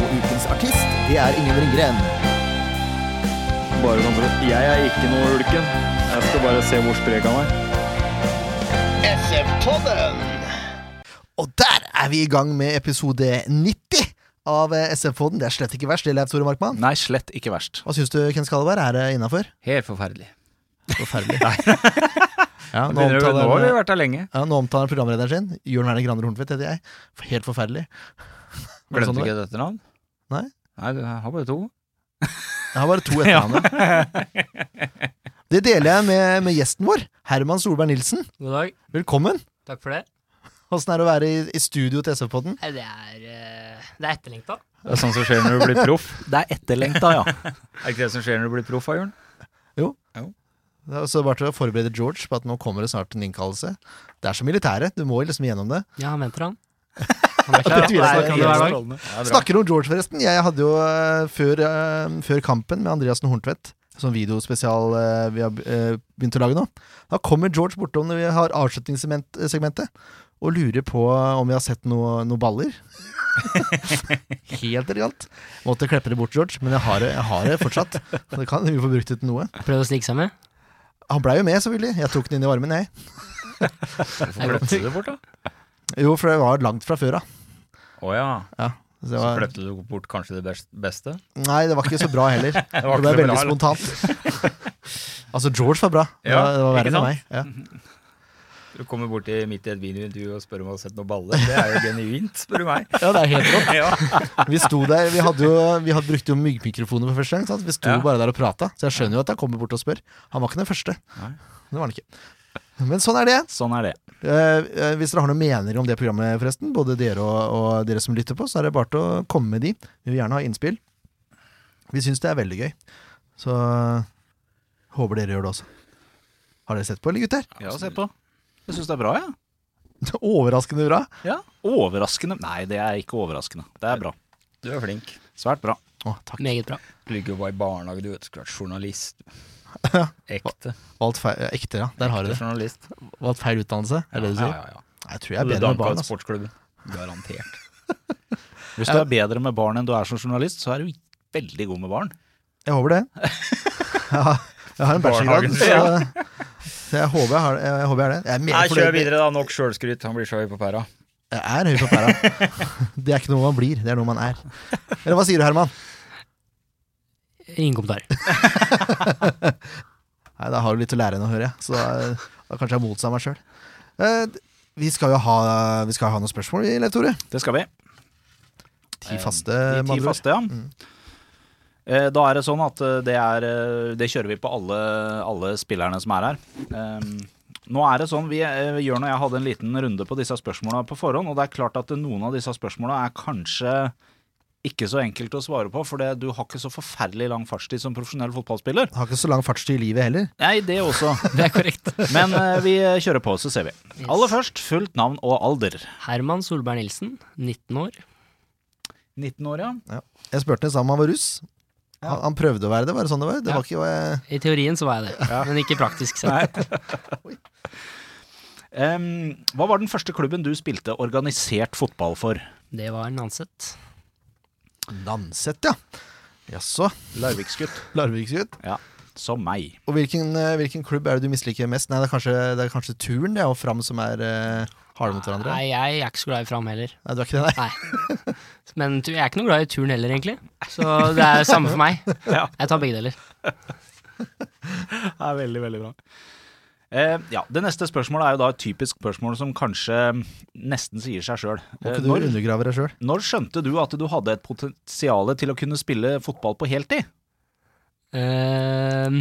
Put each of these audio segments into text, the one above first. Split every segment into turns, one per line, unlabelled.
Og ukens artist, det er Ingen Ringgren.
Bare sånn for at Jeg er ikke noe ulken. Jeg skal bare se hvor sprek han er.
Og der er vi i gang med episode 90 av eh, SF-podden. Det er slett ikke verst, det, Leif Tore Markmann.
Nei, slett ikke verst.
Hva syns du, Ken Skalleberg? Er det innafor?
Helt forferdelig.
Forferdelig. ja, nå
Begynner vi- Nå har vi
omtaler,
vært der lenge.
ja, nå omtaler programlederen sin, Jørn Werner Graner Horntvedt, heter jeg. Helt forferdelig. Var det sånn
Glemte
det
ikke et etternavn?
Nei.
Nei, du har bare to.
Jeg har bare to etternavn. Det deler jeg med, med gjesten vår, Herman Solberg Nilsen.
God dag.
Velkommen.
Takk for det.
Åssen er det å være i, i studio til SV-podden?
Nei, Det er, eh, det er etterlengta.
Det er sånn som skjer når du blir proff.
Det er etterlengta, ja.
Er ikke det som skjer når du blir proff, da, Jørn?
Det er også bare til å forberede George på at nå kommer det snart en innkallelse. Det er som militæret, du må liksom gjennom det.
Ja, han venter han. Han er
Det tviler jeg
Hver
på.
dag, hver dag.
Snakker om George, forresten. Jeg hadde jo eh, før, eh, før kampen med Andreassen Horntvedt, sånn videospesial eh, vi har eh, begynt å lage nå, da kommer George bortom når vi har avslutningssegmentet og lurer på om vi har sett noe- noen baller. Helt elegant. Måtte kleppe det bort, George, men jeg har det, jeg har det fortsatt. Så det kan vi få brukt det til noe.
Prøv å snike seg med.
Han blei jo med, selvfølgelig. Jeg tok den inn i armen, jeg.
Hvorfor kløpte du det bort, da?
Jo, for det var langt fra før, da.
Å ja.
Så det
Så
var,
kløpte du bort kanskje det best- beste?
nei, det var ikke så bra heller.
Det
Det ble veldig spontant. altså, George var bra. Det
Ja,
var, det var
ikke
verre enn
sant?
meg. Ja.
Du kommer bort i, midt i et videointervju og spør om du har sett noen baller. Det er jo genuint, spør du meg.
ja, det er helt rått.
Ja.
Vi sto der, vi hadde jo Vi hadde brukt jo myggmikrofoner for første gang. Sant? Vi sto
Ja.
bare der og prata. Så jeg skjønner jo at han kommer bort og spør. Han var ikke den første.
Nei.
Det var han ikke. Men sånn er det.
Sånn er det.
Eh, eh, hvis dere har noen meninger om det programmet, forresten, både dere og, og dere som lytter på, så er det bare til å komme med de. Vi vil gjerne ha innspill. Vi syns det er veldig gøy. Så eh, håper dere gjør det også. Har dere sett på, eller gutter?
Ja, se på. Jeg syns det er bra, jeg.
Overraskende bra.
Ja. Overraskende. Nei, det er ikke overraskende. Det er bra.
Du er flink.
Svært bra.
Å, takk.
Meget bra.
Du ligger jo bare i barnehage, du vet. Skulle vært journalist. Ekte.
Valgt feil, eh, ekte, ja. Der har
Ekte
dere det.
journalist.
Valgt feil utdannelse, er det det du sier?
Ja, ja, ja.
Nei, Jeg tror jeg er bedre med barn. Altså.
sportsklubben. Garantert.
Hvis du er bedre med barn enn du er som journalist, så er du veldig god med barn.
Jeg håper det. ja, jeg har en bachelorgrad,
Barnehagen,
så, så jeg håper jeg, har, jeg håper jeg er det. Jeg er, mer
Nei, kjør
fornøyd med-
videre, da. Nok sjølskryt. Han blir så høy på pæra.
jeg er høy på pæra. Det er ikke noe man blir, det er noe man er. Eller hva sier du, Herman?
Ingen kommentar.
Nei, Da har du litt å lære enn å høre, jeg. så da, da kanskje jeg er motsatt av meg sjøl. Vi skal jo ha, vi skal ha noen spørsmål, vi, Leif Tore.
Det skal vi.
Eh,
Ti faste,
De
med
ti
andre ord.
faste, ja. Eh, Da er det sånn at eh, det er eh, Det kjører vi på alle, alle spillerne som er her. Ehm, Nå er det sånn, vi, eh, Jørn og jeg hadde en liten runde på disse spørsmåla på forhånd, og det er klart at noen av disse spørsmåla er kanskje ikke så enkelt å svare på, for det, du har ikke så forferdelig lang fartstid som profesjonell fotballspiller.
Har ikke så lang fartstid i livet heller.
Nei, det også.
Det er korrekt.
Men eh, vi kjører på, så ser vi. Aller først, fullt navn og alder.
Herman Solberg Nilsen, 19 år.
19 år, ja.
Jeg spurte ham om han var russ. Han, han prøvde å være det, var det sånn det var? Det
Ja.
var ikke hva jeg
I teorien så var jeg det, men ikke praktisk
Nei.
sett.
Ehm, hva var den første klubben du spilte organisert fotball for?
Det var Nanset.
Nanset, ja. Jaså.
Larviksgutt.
Larviksgutt.
Ja, som meg.
Og hvilken, eh, hvilken klubb er det du misliker mest? Nei, det er kanskje, det er kanskje turen det, og Fram som er uh, harde mot hverandre? Nei.
Nei, jeg er ikke så glad i Fram heller.
du er ikke det, nei?
Eh,
Nei. Men tu- jeg er ikke noe glad i turn heller, egentlig. Så det er samme for meg.
Ja.
Jeg tar begge deler.
Det er veldig, veldig bra. Eh, ja, Det neste spørsmålet er jo da et typisk spørsmål som kanskje nesten sier seg sjøl.
Må ikke du
når,
undergrave deg sjøl?
når skjønte du at du hadde et potensial til å kunne spille fotball på heltid?
Ehm,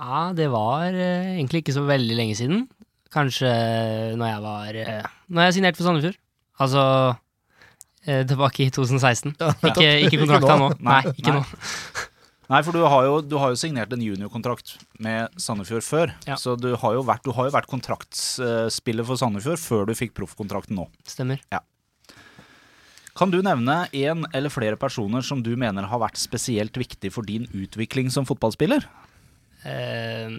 ja, det var eh, egentlig ikke så veldig lenge siden. Kanskje når jeg var eh, Når jeg signerte for Sandefjord. Altså eh, tilbake i 2016.
nettopp.
Ikke, ikke kontrakta nå. Nei,
Nei,
ikke
nei.
nå.
Nei, for du har, jo, du har jo signert en juniorkontrakt med Sandefjord før.
Ja.
Så du har jo vært, du har jo vært kontraktspiller for Sandefjord før du fikk proffkontrakten nå.
Stemmer.
Kan du nevne én eller flere personer som du mener har vært spesielt viktig for din utvikling som fotballspiller?
Eh,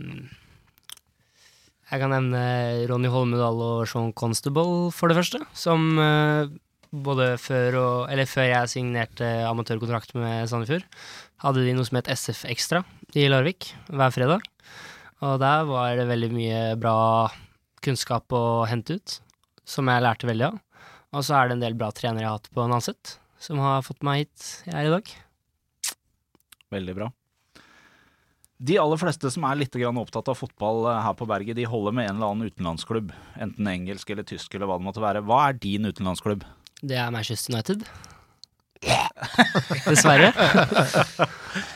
jeg kan nevne Ronny Holmedal og Sean Constable, for det første. Som eh, både før og Eller før jeg signerte amatørkontrakt med Sandefjord, hadde de noe som het SF Extra i Larvik hver fredag. Og der var det veldig mye bra kunnskap å hente ut, som jeg lærte veldig av. Og så er det en del bra trenere jeg har hatt på Nanset, som har fått meg hit jeg er i dag.
Veldig bra. De aller fleste som er litt grann opptatt av fotball eh, her på berget, de holder med en eller annen utenlandsklubb. Enten engelsk eller tysk eller hva det måtte være. Hva er din utenlandsklubb?
Det er Manchester United. Dessverre.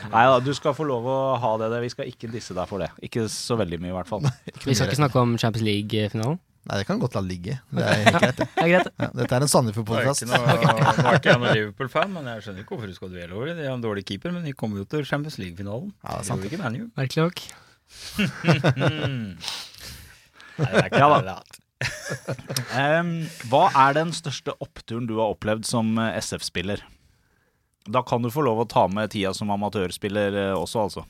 Nei da, du skal få lov å ha det. der. Vi skal ikke disse deg for det. Ikke så veldig mye, i hvert fall.
Vi skal ikke snakke om Champions League-finalen.
Nei, det kan godt la ligge. Det er helt greit, det.
Det er greit, det.
Ja, dette er en
Nå er ikke
Sandefjord-podkast.
noe, nå er ikke jeg noen Liverpool-fan, men jeg skjønner ikke hvorfor du skal dvele over det. De har en dårlig keeper, men de kommer jo til Champions League-finalen.
Ja, det er
Det
sant.
gjorde ikke ManU.
Merkelig nok.
Nei, Mm. det er ikke
Ja da.
det.
Em, hva er den største oppturen du har opplevd som eh, SF-spiller? Da kan du få lov å ta med tida som amatørspiller eh, også, altså.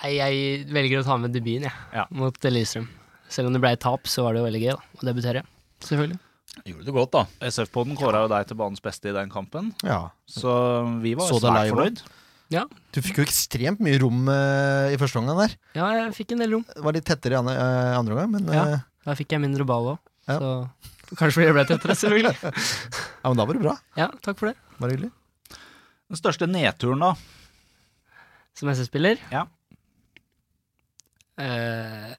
Nei, jeg velger å ta med debuten, jeg,
Ja.
mot Lillestrøm. Selv om det ble et tap, så var det jo veldig gøy da, å debutere. Selvfølgelig.
Gjorde det godt, da.
SF-poden kåra jo deg til banens beste i den kampen,
Ja.
så vi var
Så det
svært
live
fornøyd.
Du fikk jo ekstremt mye rom eh, i første omgang der.
Ja, jeg fikk en del rom.
Det var litt tettere i andre, eh, andre omgang, men,
Ja.
eh,
Da fikk jeg mindre ball òg,
Ja.
så kanskje fordi det ble tettere, selvfølgelig.
ja, men da var det bra.
Ja, takk for det.
Bare hyggelig.
Den største nedturen, da?
Som SS-spiller.
Ja.
Eh,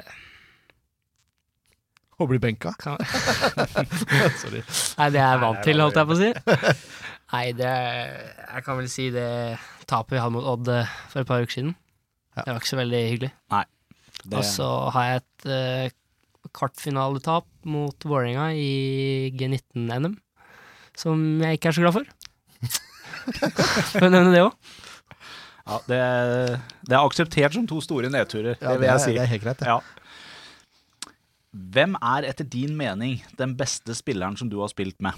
Å bli benka.
kan... Nei, det er jeg vant til, holdt jeg på å si. Nei, det Jeg kan vel si det tapet vi hadde mot Odd eh, for et par uker siden.
Ja.
Det var ikke så veldig hyggelig.
Det,
Og så har jeg et eh, kvartfinaletap mot Vålerenga i G19-NM, som jeg ikke er så glad for. Får jeg nevne det òg?
ja, det, det er akseptert som to store nedturer,
Ja,
det vil jeg
er-
si.
Det er helt greit, det.
Ja. Hvem er etter din mening den beste spilleren som du har spilt med?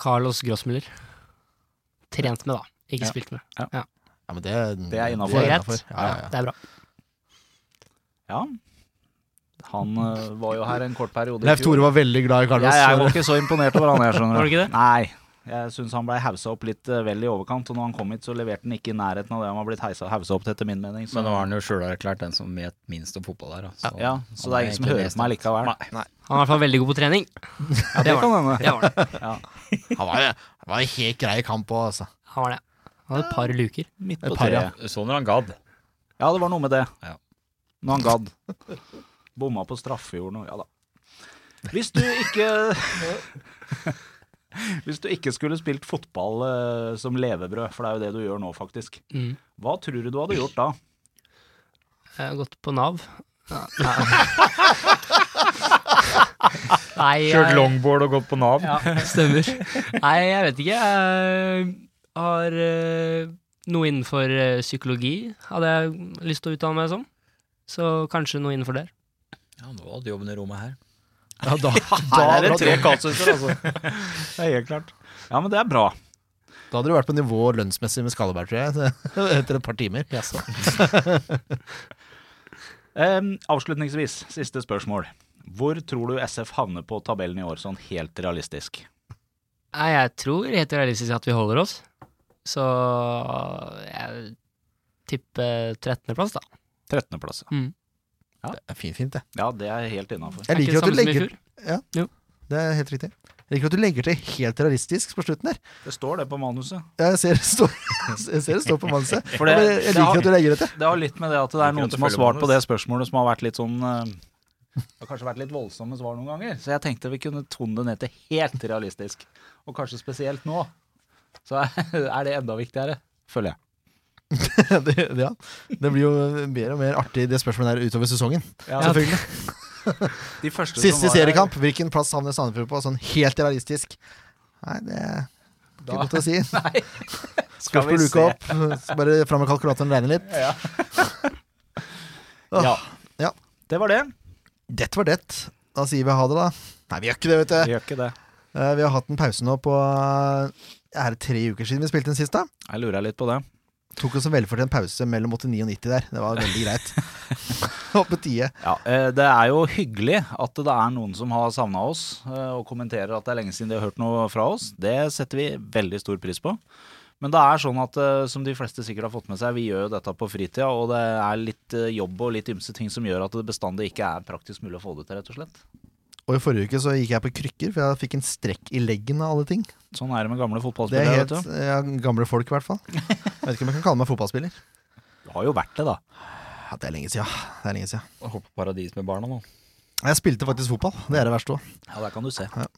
Carlos Grossmuller. Trent med, da. Ikke
Ja.
spilt med.
Ja, men det,
Det er innenfor.
Det er
innenfor.
greit.
Ja, ja, ja.
Det er bra.
Ja, han eh, var jo her en kort periode. i
Leif
fjor.
Tore var veldig glad i Carlos.
Jeg, jeg var ikke så imponert over han, jeg skjønner.
Var du ikke det?
Nei. Jeg syns han blei hausa opp litt eh, vel i overkant, og når han kom hit, så leverte han ikke i nærheten av det han var blitt heisa- hausa opp til, etter min mening. Så,
Men nå har han jo sjøl erklært den som vet minst om fotball her. da. Så,
ja, så det er ingen som hører på meg likevel.
Nei.
Han er i hvert fall veldig god på trening.
Ja, det kan hende.
Det var det.
han var, han var helt grei i kamp òg, altså.
Han var det. Han hadde et par luker.
Midt på
Et par, ja.
treet.
Så når han gadd.
Ja, det var noe med det.
Ja.
Når han gadd. Bomma på straffejorden og ja da. Hvis du ikke Hvis du ikke skulle spilt fotball eh, som levebrød, for det er jo det du gjør nå, faktisk,
Mm.
hva tror du du hadde gjort da?
Jeg har gått på Nav. Nei,
Kjørt
jeg,
longboard og gått på Nav.
ja, stemmer. Nei, jeg vet ikke. Jeg har eh, noe innenfor eh, psykologi, hadde jeg lyst til å utdanne meg som. Så kanskje noe innenfor der.
Ja, nå hadde jobben i rommet her.
Ja, da, da,
Her er det
da,
tre kasuser, altså. Det er helt klart. Ja, men det er bra.
da hadde du vært på nivå lønnsmessig med Skalleberg, tror jeg, så- etter et par timer.
Em, avslutningsvis, siste spørsmål. Hvor tror du SF havner på tabellen i år, sånn helt realistisk?
Nei, jeg tror helt realistisk at vi holder oss. Så jeg tipper 13.-plass, da.
13.-plass. ja.
Det er fint, fint, det.
Ja, det er helt innafor.
Jeg
Er
liker
ikke det
at du
samme som i
legger
fjor?
Det er helt riktig. Jeg liker at du legger til helt terroristisk på slutten der.
Det står det på manuset.
Jeg ser det står, jeg ser det står på manuset.
For det-
Ja, men jeg, jeg
det har-
liker at du legger det til.
Det har litt med det at det er
Liker
noen
at
som
det
har svart
følger
på det spørsmålet som har vært litt sånn eh, Det har kanskje vært litt voldsomme svar noen ganger, så jeg tenkte vi kunne tone det ned til helt realistisk. Og kanskje spesielt nå. Så er det enda viktigere, føler jeg.
det. Ja. Det blir jo mer og mer artig, det spørsmålet der, utover sesongen.
Ja.
Selvfølgelig.
De første som
Siste
var her-
seriekamp, hvilken plass havner Sandefjord på? Sånn helt realistisk. Nei, det er ikke godt å si.
Skal vi
Spørsmål
se.
luka opp. Så bare fram med kalkulatoren og regne litt.
Ja.
Åh,
Ja.
ja.
Det var det.
Det var det. Da sier vi ha det, da. Nei, vi gjør ikke det, vet du.
gjør ikke det.
Eh, Vi har hatt en pause nå på eh, Er det tre uker siden vi spilte den sist, da?
Jeg lurer litt på det.
Tok oss en velfortjent pause mellom 89 og 90 der. Det var veldig greit. Og på tide.
Ja, eh, det er jo hyggelig at det er noen som har savna oss eh, og kommenterer at det er lenge siden de har hørt noe fra oss. Det setter vi veldig stor pris på. Men det er sånn at eh, som de fleste sikkert har fått med seg, vi gjør jo dette på fritida, og det er litt eh, jobb og litt ymse ting som gjør at det bestandig ikke er praktisk mulig å få det til, rett og slett.
Og i forrige uke så gikk jeg på krykker, for jeg fikk en strekk i leggen av alle ting.
Sånn er det med gamle
Det er
fotballspillere.
helt ja, gamle folk, i hvert fall. Jeg vet ikke om jeg kan kalle meg fotballspiller.
vet du. Det har jo vært det, da.
Ja, det er lenge siden. Det er lenge siden.
Hoppe paradis med barna nå.
Jeg spilte faktisk fotball. Det er det verste òg.
Ja, der kan du se.
Ja.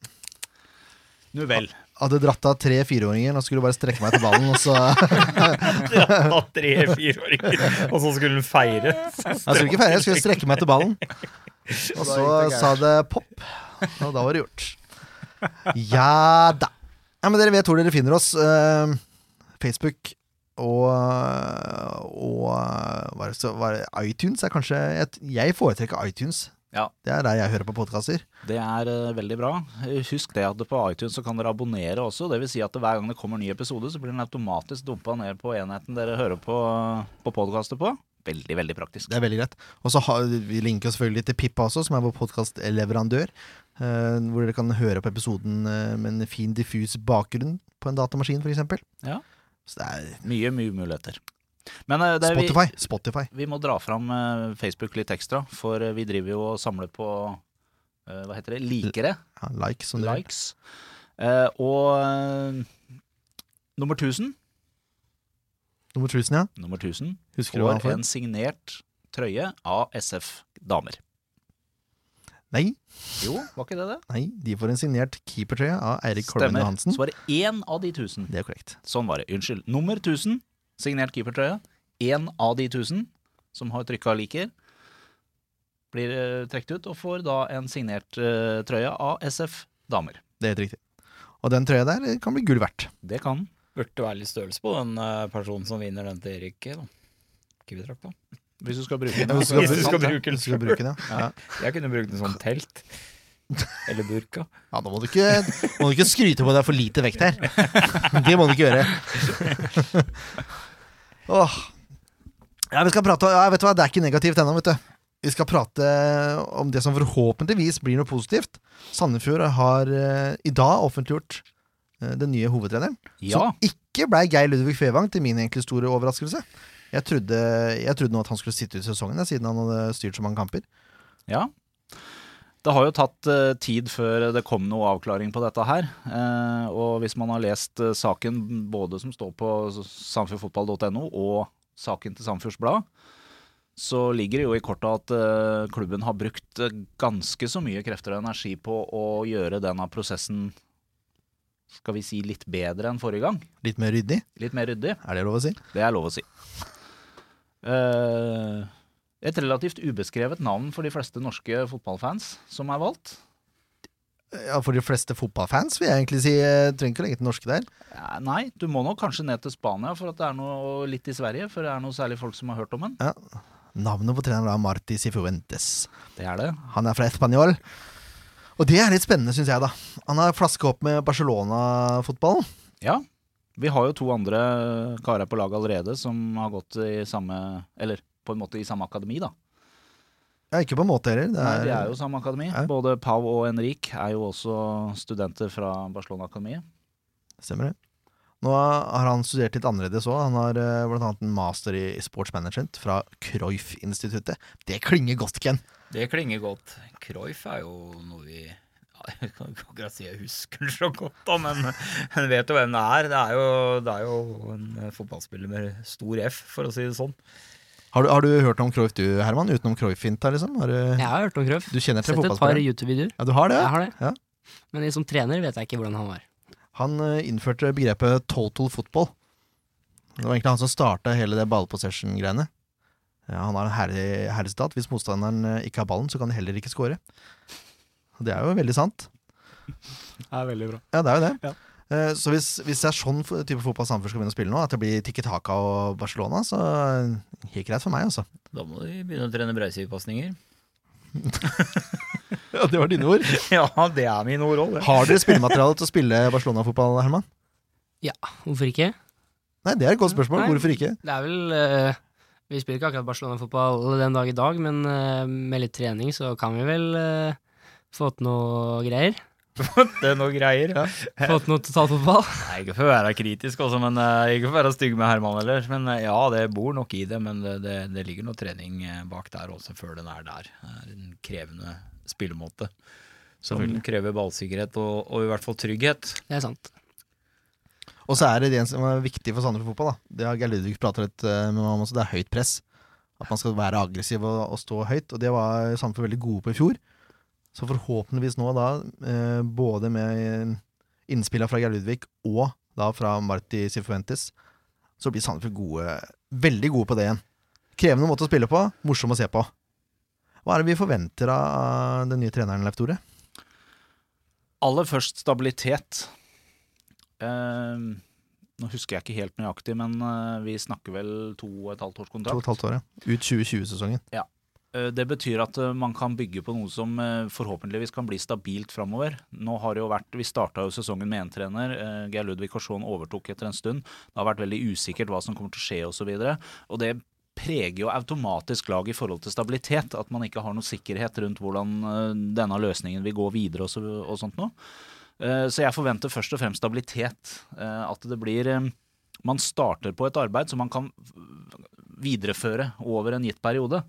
Nu vel.
Hadde dratt av tre fireåringer og skulle bare strekke meg til ballen. Og så, jeg
Tre-fireåringer, og så skulle hun feire.
skulle ikke feire, jeg skulle strekke meg til ballen. Og så sa det pop, og da var det gjort. Ja da. Ja, men dere vet hvor dere finner oss. Eh, Facebook og, og hva er det, så, hva er det, iTunes er kanskje et, Jeg foretrekker iTunes.
Ja.
Det er der jeg hører på podkaster.
Det er eh, veldig bra. Husk det at det på iTunes så kan dere abonnere også. Det vil si at hver gang det kommer en ny episode, så blir den automatisk dumpa ned på enheten dere hører på, på podkastet på. Veldig, veldig praktisk.
Det er veldig greit. Og så har- vi linker selvfølgelig til Pippa også, som er vår podkastleverandør. Eh, hvor dere kan høre på episoden eh, med en fin, diffus bakgrunn på en datamaskin, f.eks.
Ja.
Så det er
Mye, mye muligheter. Men eh, det, er vi,
Spotify. Spotify.
vi må dra fram eh, Facebook litt ekstra, for eh, vi driver jo og samler på eh, Hva heter det? Likere?
Ja, like, som dere
Likes. Eh, og eh, nummer 1000
Nummer 1000, ja.
Nummer 1000
Husker du hva han
får
får?
en signert trøye av SF Damer.
Nei,
Jo, var ikke det det?
nei, de får en signert keepertrøye av Eirik Kolmen
Stemmer.
Johansen.
Så var det én av de tusen.
Det er korrekt.
Sånn var det. Unnskyld. Nummer 1000, signert keepertrøye. Én av de tusen som har trykka liker, blir eh, trukket ut og får da en signert eh, trøye av SF Damer.
Det er helt riktig. Og den trøya der eh, kan bli gull verdt.
Det kan
Burde være litt størrelse på den eh, personen som vinner den til Erik. Da. Ikke vi trakk på.
Hvis du skal bruke den.
Hvis du skal
Hvis du skal
ja,
bruke den
hvis du skal bruke den. Ja. Ja.
Jeg kunne brukt den som telt. Eller burka.
ja, da må du, ikke, må du ikke skryte på at det er for lite vekt her. Det må du ikke gjøre. Åh. Ja, vi skal prate ja, vet du hva, Det er ikke negativt ennå, vet du. Vi skal prate om det som forhåpentligvis blir noe positivt. Sandefjord har eh, i dag offentliggjort eh, den nye hovedtreneren.
Ja,
Som ikke ble Geir Ludvig Fevang, til min egentlig store overraskelse. Jeg trodde, jeg trodde nå at han skulle sitte ut sesongen, jeg, siden han hadde styrt så mange kamper.
ja. Det har jo tatt eh, tid før det kom noe avklaring på dette her. Eh, og hvis man har lest eh, saken både som står på samfjordfotball.no og saken til Samfjords Blad, så ligger det jo i kortet at eh, klubben har brukt eh, ganske så mye krefter og energi på å gjøre denne prosessen skal vi si litt bedre enn forrige gang.
Litt mer ryddig,
Litt mer ryddig.
er det lov å si?
Det er lov å si. Eh, et relativt ubeskrevet navn for de fleste norske fotballfans som er valgt.
Ja, For de fleste fotballfans vil jeg egentlig si. Jeg trenger ikke legge til norske der.
Eh, Nei, du må nok kanskje ned til Spania for at det er noe, og litt i Sverige, for det er noe særlig folk som har hørt om den.
Navnet på treneren er Marti Sifuentes.
Det er det.
Han er fra Español. Og det er litt spennende, syns jeg, da. Han har flaska opp med Barcelona-fotballen.
Ja. Vi har jo to andre karer på laget allerede som har gått i samme Eller på en måte i samme akademi, da.
Ja, ikke på en måte heller. Det
Nei,
er,
de er jo samme akademi.
Ja.
Både Pau og Henrik er jo også studenter fra Barcelona-akademiet.
Stemmer det. Nå har han studert litt annerledes òg. Han har eh, blant annet en master i sports management fra Cruyff-instituttet. Det klinger godt, Ken.
Det klinger godt. Cruyff er jo noe vi ja, Jeg kan ikke akkurat si jeg husker så godt, da, men men vet jo hvem det er. Det er jo, det er jo en eh, fotballspiller med stor F, for å si det sånn.
Har du, har du hørt om Cruyff du, Herman? Utenom Cruyff-finta, liksom? Har du,
Jeg har hørt om Krøff.
du kjenner til
Sett et par
fotballspilleren?
YouTube-videoer.
Ja, du har det?
Jeg
ja?
har det. Men som trener vet jeg ikke hvordan han var.
Han eh, innførte begrepet total football. Det var egentlig han som starta hele det ballpossession-greiene. Eh, Ja, han har en herlig, herlig sitat. Hvis motstanderen eh, ikke har ballen, så kan de heller ikke score. Og Det er jo veldig sant.
Det er veldig bra.
Ja, det er jo det.
Ja.
Eh, Så hvis, hvis det er sånn f- type fotball Sandefjord skal begynne å spille nå, at det blir Tikki Taka og Barcelona, så eh, helt greit for meg, altså.
Da må de begynne å trene breisivpasninger.
Ja, det var dine ord.
ja, det er min ordroll, det.
Har dere spillemateriale til å spille Barcelona-fotball, Herman?
Hvorfor ikke?
Nei, det er et godt spørsmål.
Nei.
Hvorfor ikke?
Det er vel eh, Vi spiller ikke akkurat Barcelona-fotball den dag i dag, men eh, med litt trening så kan vi vel eh, få til noe greier.
Det er noe greier.
Få til noe totalfotball.
Nei, ikke for å være kritisk også, men eh, ikke for å være stygg med Herman ellers. Men eh, ja, det bor nok i det, men det, det, det ligger noe trening eh, bak der også før den er der. Det er en krevende spillemåte. Som krever ballsikkerhet og, og i hvert fall trygghet.
Det er sant.
Og så er det en som er viktig for Sandefjord fotball. da Det har Geir Ludvig pratet litt eh, med meg om også. Det er høyt press. At man skal være aggressiv og, og stå høyt. Og det var Sandefjord veldig gode på i fjor. Så forhåpentligvis nå, da, eh, både med innspillene fra Geir Ludvig og da fra Marti Sifuentes, så blir Sandefjord gode, veldig gode på det igjen. Krevende måte å spille på, morsom å se på. Hva er det vi forventer av den nye treneren, Leif Tore?
Aller først stabilitet. Eh, nå husker jeg ikke helt nøyaktig, men eh, vi snakker vel to og et halvt års
To
kontrakt.
og et halvt år, ja. Ut 2020-sesongen.
Eh, Det betyr at eh, man kan bygge på noe som eh, forhåpentligvis kan bli stabilt framover. Nå har det jo vært, Vi starta jo sesongen med én trener. eh, Geir Ludvig Korsson overtok etter en stund. Det har vært veldig usikkert hva som kommer til å skje osv. Og det preger jo automatisk lag i forhold til stabilitet. At man ikke har noe sikkerhet rundt hvordan eh, denne løsningen vil gå videre og, så, og sånt noe. Eh, Så jeg forventer først og fremst stabilitet. eh, At det blir eh, Man starter på et arbeid som man kan videreføre over en gitt periode.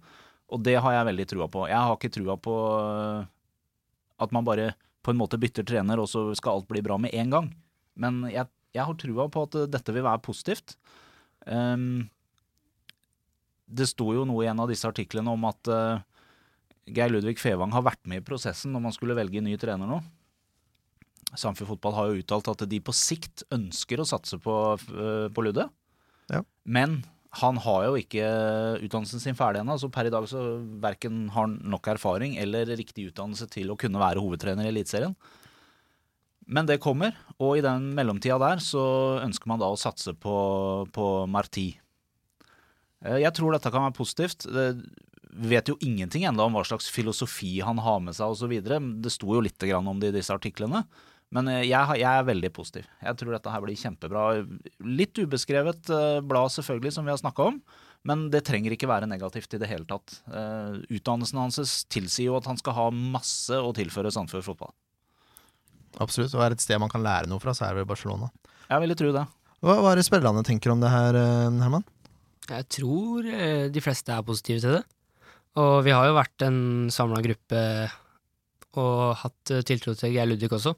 Og det har jeg veldig trua på. Jeg har ikke trua på øh, at man bare på en måte bytter trener, og så skal alt bli bra med en gang. Men jeg, jeg har trua på at øh, dette vil være positivt. Ehm, det sto jo noe i en av disse artiklene om at øh, Geir Ludvig Fevang har vært med i prosessen når man skulle velge ny trener nå. Samfunn Fotball har jo uttalt at de på sikt ønsker å satse på, øh, på Ludde.
Ja.
Men han har jo ikke utdannelsen sin ferdig ennå, så per i dag så verken har han nok erfaring eller riktig utdannelse til å kunne være hovedtrener i Eliteserien. Men det kommer, og i den mellomtida der så ønsker man da å satse på, på Marti. Eh, Jeg tror dette kan være positivt. Det- Vi vet jo ingenting ennå om hva slags filosofi han har med seg osv. Det sto jo litt grann om det i disse artiklene. Men eh, jeg, har- jeg er veldig positiv. Jeg tror dette her blir kjempebra. Litt ubeskrevet eh, blad selvfølgelig, som vi har snakka om. Men det trenger ikke være negativt i det hele tatt. Eh, Utdannelsen hans tilsier jo at han skal ha masse å tilføre Sandefjord fotball.
Absolutt. Og er det et sted man kan lære noe fra, så er det vel Barcelona.
Jeg ville tro det.
Hva, hva er det spillerne tenker om det her, eh, Herman?
Jeg tror eh, de fleste er positive til det. Og vi har jo vært en samla gruppe og hatt eh, tiltro til Geir Ludvig også.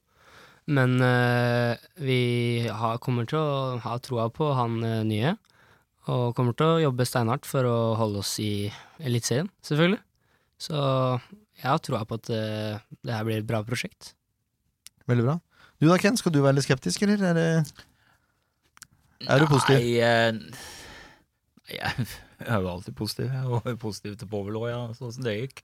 Men eh, vi har, kommer til å ha troa på han eh, nye, og kommer til å jobbe steinhardt for å holde oss i Eliteserien, selvfølgelig. Så jeg har troa på at eh, det her blir et bra prosjekt.
Veldig bra. Du da, Ken, skal du være litt skeptisk, eller? Er, det, er du positiv?
Nei, eh, nei, jeg er jo alltid positiv. Jeg var jo positiv til Povel òg, ja, sånn som det gikk.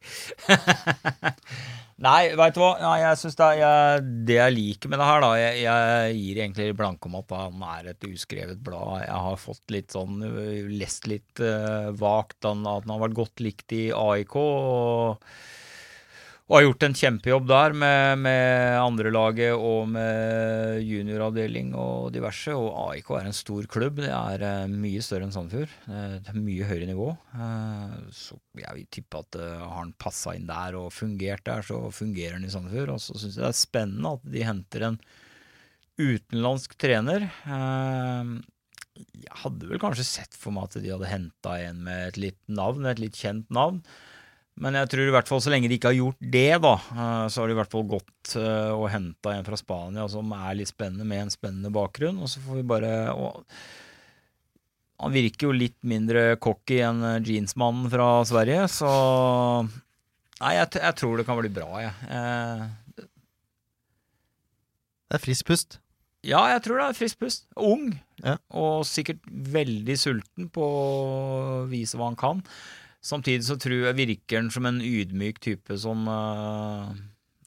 nei, veit du hva. Nei, jeg synes det, er- jeg, det jeg liker med det her, da Jeg, jeg gir egentlig blanke om at han er et uskrevet blad. Jeg har fått litt sånn ø, Lest litt ø, vagt han, at han har vært godt likt i AIK. og og har gjort en kjempejobb der med, med andrelaget og med junioravdeling og diverse. Og AIK er en stor klubb. Det er eh, mye større enn Sandefjord. Eh, Det er mye høyere nivå. Eh, Så jeg vil tippe at eh, har han passa inn der og fungert der, så fungerer han i Sandefjord. Og så syns jeg det er spennende at de henter en utenlandsk trener. Eh, Jeg hadde vel kanskje sett for meg at de hadde henta en med et litt navn, et litt kjent navn. Men jeg tror i hvert fall så lenge de ikke har gjort det, da, eh, så har de i hvert fall gått eh, og henta en fra Spania som er litt spennende, med en spennende bakgrunn. Og så får vi bare og Han virker jo litt mindre cocky enn eh, jeansmannen fra Sverige, så Nei, jeg, t jeg tror det kan bli bra, jeg. Eh,
Det er frisk pust.
ja, jeg tror det er frisk pust. Ung,
Ja.
og sikkert veldig sulten på å vise hva han kan. Samtidig så tror jeg virker han som en ydmyk type som, eh,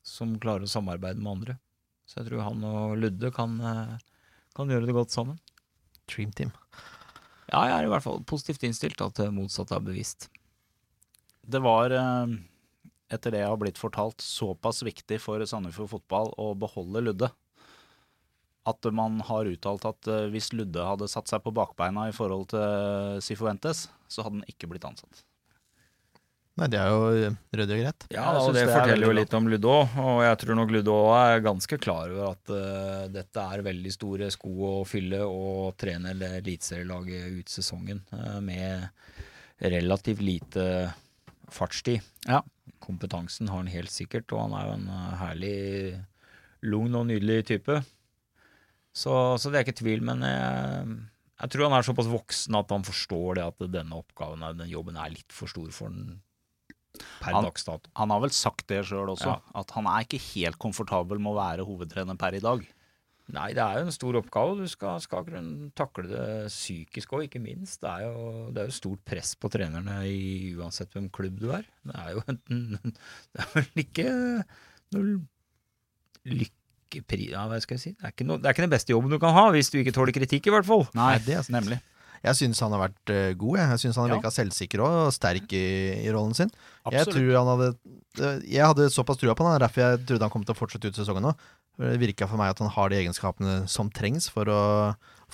som klarer å samarbeide med andre. Så jeg tror han og Ludde kan, eh, kan gjøre det godt sammen.
Dream Team.
Ja, jeg er i hvert fall positivt innstilt at det motsatte er bevisst.
Det var, eh, etter det jeg har blitt fortalt, såpass viktig for Sandefjord fotball å beholde Ludde. At man har uttalt at eh, hvis Ludde hadde satt seg på bakbeina i forhold til Sifuentes, så hadde han ikke blitt ansatt.
Nei, det er jo eh, ryddig og greit.
Ja,
jeg
og
synes
det,
det er
forteller jo
veldig
litt om Ludde òg, og jeg tror nok Ludde òg er ganske klar over at eh, dette er veldig store sko å fylle og trene det eliteserielaget ut sesongen eh, med relativt lite fartstid.
Ja.
Kompetansen har han helt sikkert, og han er jo en eh, herlig, lugn og nydelig type. Så, så det er ikke tvil, men jeg, jeg tror han er såpass voksen at han forstår det at denne oppgaven, denne jobben, er litt for stor for han per
Han-
dags dato.
Han har vel sagt det sjøl også,
Ja.
at han er ikke helt komfortabel med å være hovedtrener per i dag.
Nei, det er jo en stor oppgave. Du skal, skal kunne takle det psykisk òg, ikke minst. Det er, jo, det er jo stort press på trenerne i, uansett hvem klubb du er. Det er jo enten Det er vel ikke noe lykkepri... Ja, hva skal jeg si? Det er, ikke noe, det er ikke den beste jobben du kan ha, hvis du ikke tåler kritikk, i hvert fall.
Nei,
det er sant.
nemlig.
Jeg syns han har vært eh, god. Jeg, jeg syns han har
Ja.
virka selvsikker og og sterk i, i rollen sin. Jeg
Absolutt.
tror han hadde eh, Jeg hadde såpass trua på han, derfor jeg trodde han kom til å fortsette ut sesongen nå. Det virka for meg at han har de egenskapene som trengs for å,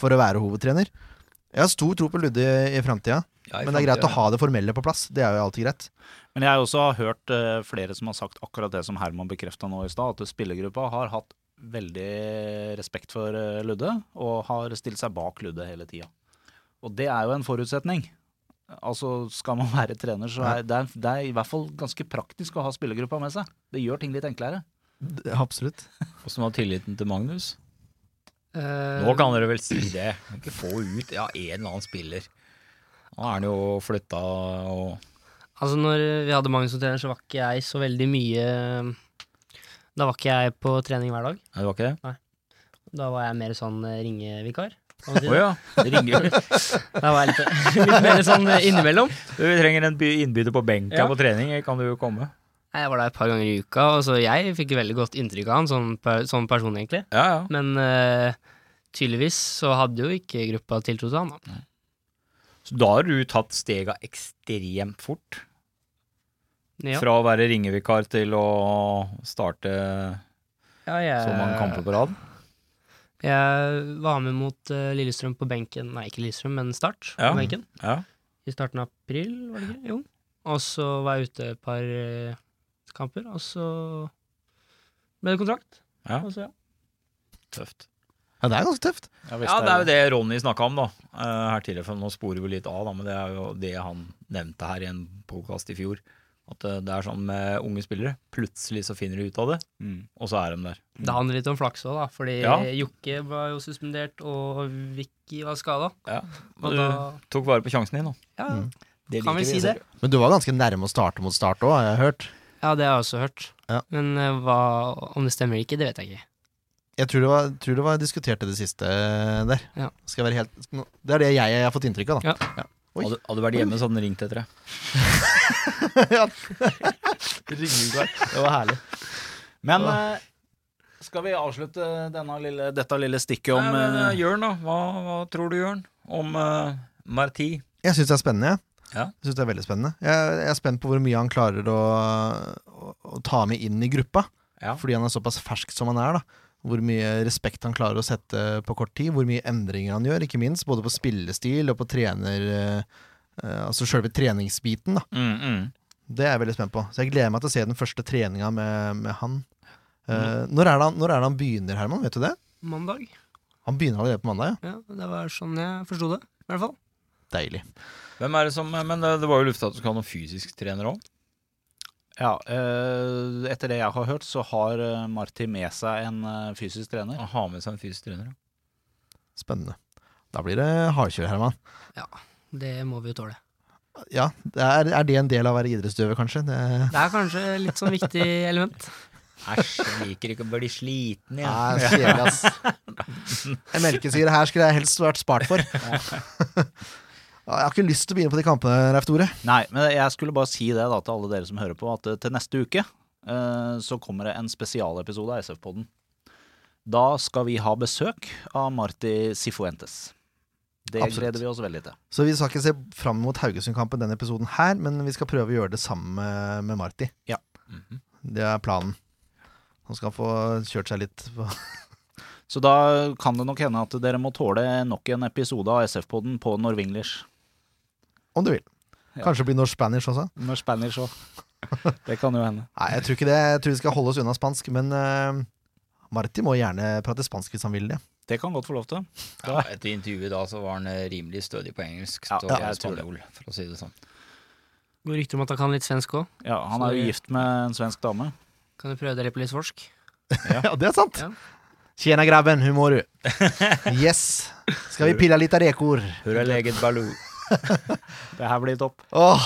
for å være hovedtrener. Jeg har stor tro på Ludde i, i framtida,
Ja, i
men det er greit å
fremtiden.
ha det formelle på plass. Det er jo alltid greit.
Men jeg har også hørt eh, flere som har sagt akkurat det som Herman bekrefta nå i stad, at spillergruppa har hatt veldig respekt for eh, Ludde, og har stilt seg bak Ludde hele tida. Og det er jo en forutsetning. Altså, Skal man være trener, så er det, er- det er i hvert fall ganske praktisk å ha spillergruppa med seg. Det gjør ting litt enklere.
D- Absolutt.
Åssen var tilliten til Magnus?
Eh,
Nå kan dere vel si det. Kan Ikke få ut ja, en eller annen spiller. Nå er han jo flytta og
Altså når vi hadde Magnus som trener, så var ikke jeg så veldig mye eh, Da var ikke jeg på trening hver dag.
Nei, det var ikke det?
Da var jeg mer sånn eh, ringevikar. kan man si
Å
det.
ja. Det ringer jo.
Da var jeg litt, litt mer sånn eh, innimellom.
Du, vi trenger en by- innbytter på benken
Ja.
på trening, kan du jo komme?
Nei, Jeg var der et par ganger i uka, og så jeg fikk veldig godt inntrykk av han som, per, som person, egentlig.
Ja, ja.
Men eh, tydeligvis så hadde jo ikke gruppa tiltro til han. da.
Så da har du tatt stega ekstremt fort.
Ja,
Fra å være ringevikar til å starte
ja
så mange kamper
jeg,
på rad.
jeg var med mot eh, Lillestrøm på benken, nei ikke Lillestrøm, men Start
Ja.
på benken.
Ja.
i starten av april, var det ikke? Jo. Og så var jeg ute et par eh, kamper, og så ble det kontrakt.
Ja.
Og så, ja.
Tøft.
Ja, det er ganske tøft.
Ja, det er jo det Ronny snakka om da, eh, her tidligere. for Nå sporer vi litt av, da, men det er jo det han nevnte her i en podkast i fjor. At eh, det er sånn med unge spillere. Plutselig så finner de ut av det,
Mm.
og så er de der.
Det handler litt om flaks òg, da. Fordi
Ja.
Jokke var jo suspendert, og Vicky var skada. Og
Men
da
du tok vare på sjansen din, da.
ja,
Mm.
Det
kan vi si det?
Men du var ganske nærme å starte mot start òg, har jeg hørt.
Ja, det har jeg også hørt.
Ja.
Men eh, hva, om det stemmer eller ikke, det vet jeg ikke.
Jeg tror det var, tror det var diskutert i det siste eh, der.
Ja.
Skal jeg være helt, nå- det er det jeg, har fått inntrykk av, da. Oi.
Hadde, hadde du vært hjemme, så hadde han ringt etter deg.
Ja.
Ringevikar.
Det var herlig.
Men eh, skal vi avslutte denne lille, dette lille stikket om
Nei, men,
eh,
eh, Jørn, da. Hva, hva tror du, Jørn, om eh, Marti?
Jeg syns det er spennende. jeg.
Ja.
Jeg synes det er veldig spennende jeg, jeg er spent på hvor mye han klarer å, å, å ta med inn i gruppa.
Ja.
Fordi han er såpass fersk som han er. da Hvor mye respekt han klarer å sette på kort tid. Hvor mye endringer han gjør, ikke minst. Både på spillestil og på trener eh, eh, Altså sjølve treningsbiten. da
Mm, mm.
Det er jeg veldig spent på. Så jeg gleder meg til å se den første treninga med, med han. Eh, når, er det han. Når er det han begynner, Herman? Vet du det?
Mandag?
Han begynner allerede på mandag, ja.
Ja, det var sånn jeg forsto det, i hvert fall.
Deilig.
Hvem er det som eh, Men det, det var jo lufta at du skal ha noen fysisk trener òg.
Ja, eh, etter det jeg har hørt, så har eh, Marti med seg en eh, fysisk trener.
Ha med seg en fysisk trener. ja.
Spennende. Da blir det hardkjør, Herman.
Det må vi jo tåle.
Ja, det er, er det en del av å være idrettsutøver, kanskje? Det,
Det er kanskje litt sånn viktig element.
Æsj, jeg liker ikke å bli sliten, jeg.
Nei, kjedelig, ass. En melkesyre her skulle jeg helst vært spart for. Ja, Ja, Jeg har ikke lyst til å begynne på de kampene, Reif Tore.
Nei, men jeg skulle bare si det da til alle dere som hører på, at eh, til neste uke eh, så kommer det en spesialepisode av SF-podden. Da skal vi ha besøk av Marti Sifuentes. Det
Absolutt.
gleder vi oss veldig til.
Så vi skal ikke se fram mot Haugesund-kampen denne episoden her, men vi skal prøve å gjøre det sammen med, med Marti.
Ja.
Mhm.
Det er planen. Han skal få kjørt seg litt. på-
Så da kan det nok hende at dere må tåle nok en episode av SF-podden på norwenglish.
Om du vil.
Ja.
Kanskje bli norsk spanish også.
Når spanish òg. Det kan jo hende.
Nei, jeg tror ikke det. Jeg tror vi skal holde oss unna spansk, men eh, Marti må gjerne prate spansk hvis han vil det.
Det kan godt få lov til.
Ja, etter intervjuet da så var han eh, rimelig stødig på engelsk
Ja,
og
ja, jeg tror det.
spanjol, for å si det sånn.
Går rykter om at han kan litt svensk òg.
Ja, Han er jo gift med en svensk dame.
Kan du prøve dere på litt svorsk?
Ja, det er sant.
Ja.
Tjena grabben, hur mår du? Yes. Skal vi pilla litt av rekor?
Hurra leget balu.
Det her blir topp.
Åh,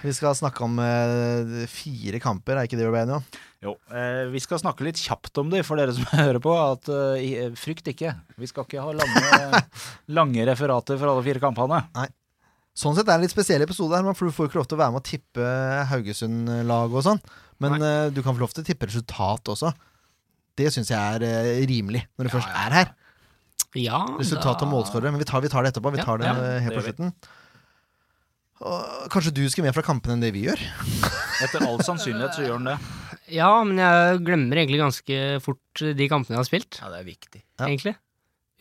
vi skal snakke om eh, fire kamper, er ikke det vi ble enige om?
Jo, eh, Vi skal snakke litt kjapt om det for dere som hører på. at eh, i- eh, Frykt ikke. Vi skal ikke ha lange, lange referater for alle fire kampene.
Sånn sett er det en litt spesiell episode her, men for du får jo ikke lov til å være med å tippe Haugesund-laget og sånn. Men eh, du kan få lov til å tippe resultat også. Det syns jeg er eh, rimelig, når du
Ja,
først
ja,
er her.
Ja,
Resultat og målskårere, men vi tar, vi tar det etterpå. Vi
Ja,
tar det
ja,
eh, helt på
det gjør
slutten. Og kanskje du skal mer fra kampene enn det vi gjør?
Etter all sannsynlighet så gjør den det.
Ja, men jeg glemmer egentlig ganske fort de kampene jeg har spilt,
Ja, det er viktig.
Ja.
egentlig.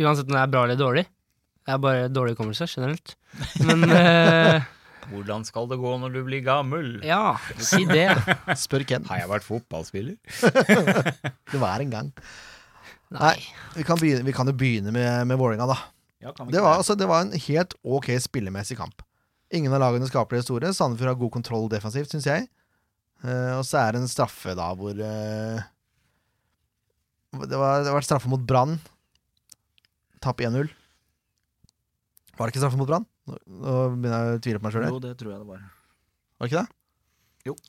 Uansett om det er bra eller dårlig. Det er bare dårlig hukommelse generelt. Men eh,
Hvordan skal det gå når du blir gammel?
ja, si det.
Spør Ken.
Har jeg vært fotballspiller?
Det var en gang.
Nei.
Vi kan, begynne, vi kan jo begynne med, med Vålerenga, da.
Ja, kan vi
Det
ikke
var, altså, det var en helt ok spillemessig kamp. Ingen av lagene skaper det store. Sandefjord har god kontroll defensivt, syns jeg. Eh, og så er det en straffe, da, hvor eh, det, var, det har vært straffe mot Brann. Tap 1-0. Var det ikke straffe mot Brann? Nå, nå begynner jeg å tvile på meg sjøl her.
Jo, det tror jeg det var.
Var det ikke det?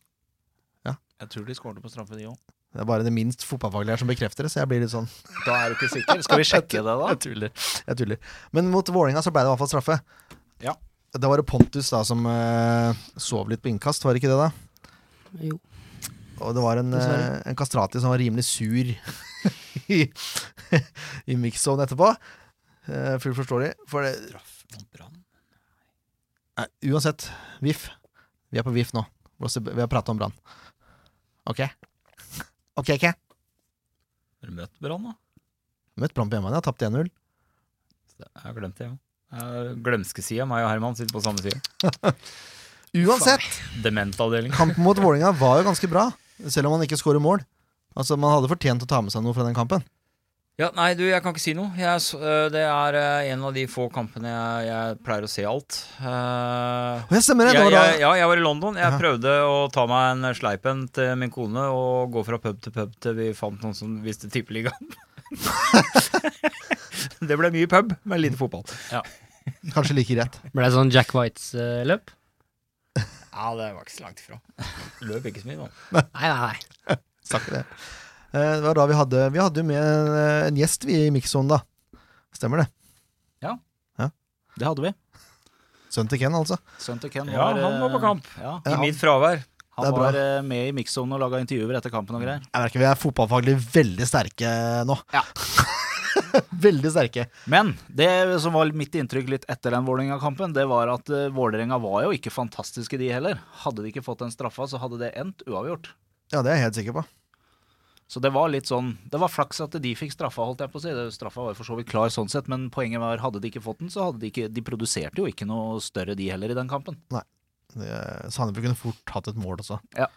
Jeg tror de skåret på straffe, de òg.
Det er bare det minst fotballfaglige her som bekrefter det, så jeg blir litt sånn
Da er du ikke sikker. Skal vi sjekke det, da?
Jeg tuller. Jeg tuller. Men mot Vålerenga så ble det i hvert fall straffe.
Ja.
Da var det Pontus da som eh, sov litt på innkast, var det ikke det, da?
Jo.
Og det var en,
Dessverre.
eh, en kastrati som var rimelig sur i, i mix-zone etterpå. Eh, Fullt forståelig. For det,
Straff mot Brann?
nei, uansett, VIF. Vi er på VIF nå. Blåser- Vi har prata om brann. OK? OK, OK.
Har du møtt Brann, da?
Møtt Brann på hjemmebane, har tapt 1-0.
Så Jeg har glemt det, ja. Eh, Glemskesida, meg og Herman sitter på samme side.
Uansett,
Dementavdeling.
kampen mot Vålerenga var jo ganske bra, selv om man ikke skårer mål. Altså, Man hadde fortjent å ta med seg noe fra den kampen.
Ja, nei, du, jeg kan ikke si noe. Jeg, s- øh, det er øh, en av de få kampene jeg, jeg pleier å se alt. Eh,
Og jeg stemmer det!
jeg,
det var
jeg,
da-
ja, jeg var i London. Jeg
Aha.
prøvde å ta meg en sleipen til min kone og gå fra pub til pub til vi fant noen som visste tippeligaen. det ble mye pub, men lite fotball.
Kanskje like greit.
Ble det sånn Jack Whites-løp?
Ja, det var ikke så langt ifra. Løp ikke så mye, da.
Nei, nei, nei.
Sa ikke det. Eh, Det var da vi hadde Vi hadde jo med en, eh, en gjest vi i Mixon, da. Stemmer det?
Det hadde vi.
Sønnen til Ken, altså.
Sønnen til Ken
Ja,
var
han var på
eh,
kamp.
Ja,
Ja,
I
han-
mitt fravær.
Det er
han
bra.
var eh, med i mix-sonen og laga intervjuer etter kampen og greier.
Jeg merker vi er fotballfaglig veldig sterke nå.
Ja.
veldig sterke.
Men det som var mitt inntrykk litt etter den Vålerenga-kampen, det var at eh, Vålerenga var jo ikke fantastiske, de heller. Hadde de ikke fått den straffa, så hadde det endt uavgjort.
Ja, det er jeg helt sikker på.
Så det var litt sånn Det var flaks at de fikk straffa, holdt jeg på å si. Det- Straffa var for så vidt klar sånn sett, men poenget var hadde de ikke fått den, så hadde de ikke De produserte jo ikke noe større, de heller, i den kampen.
Det- Sandefjord kunne fort hatt et mål også.
Ja.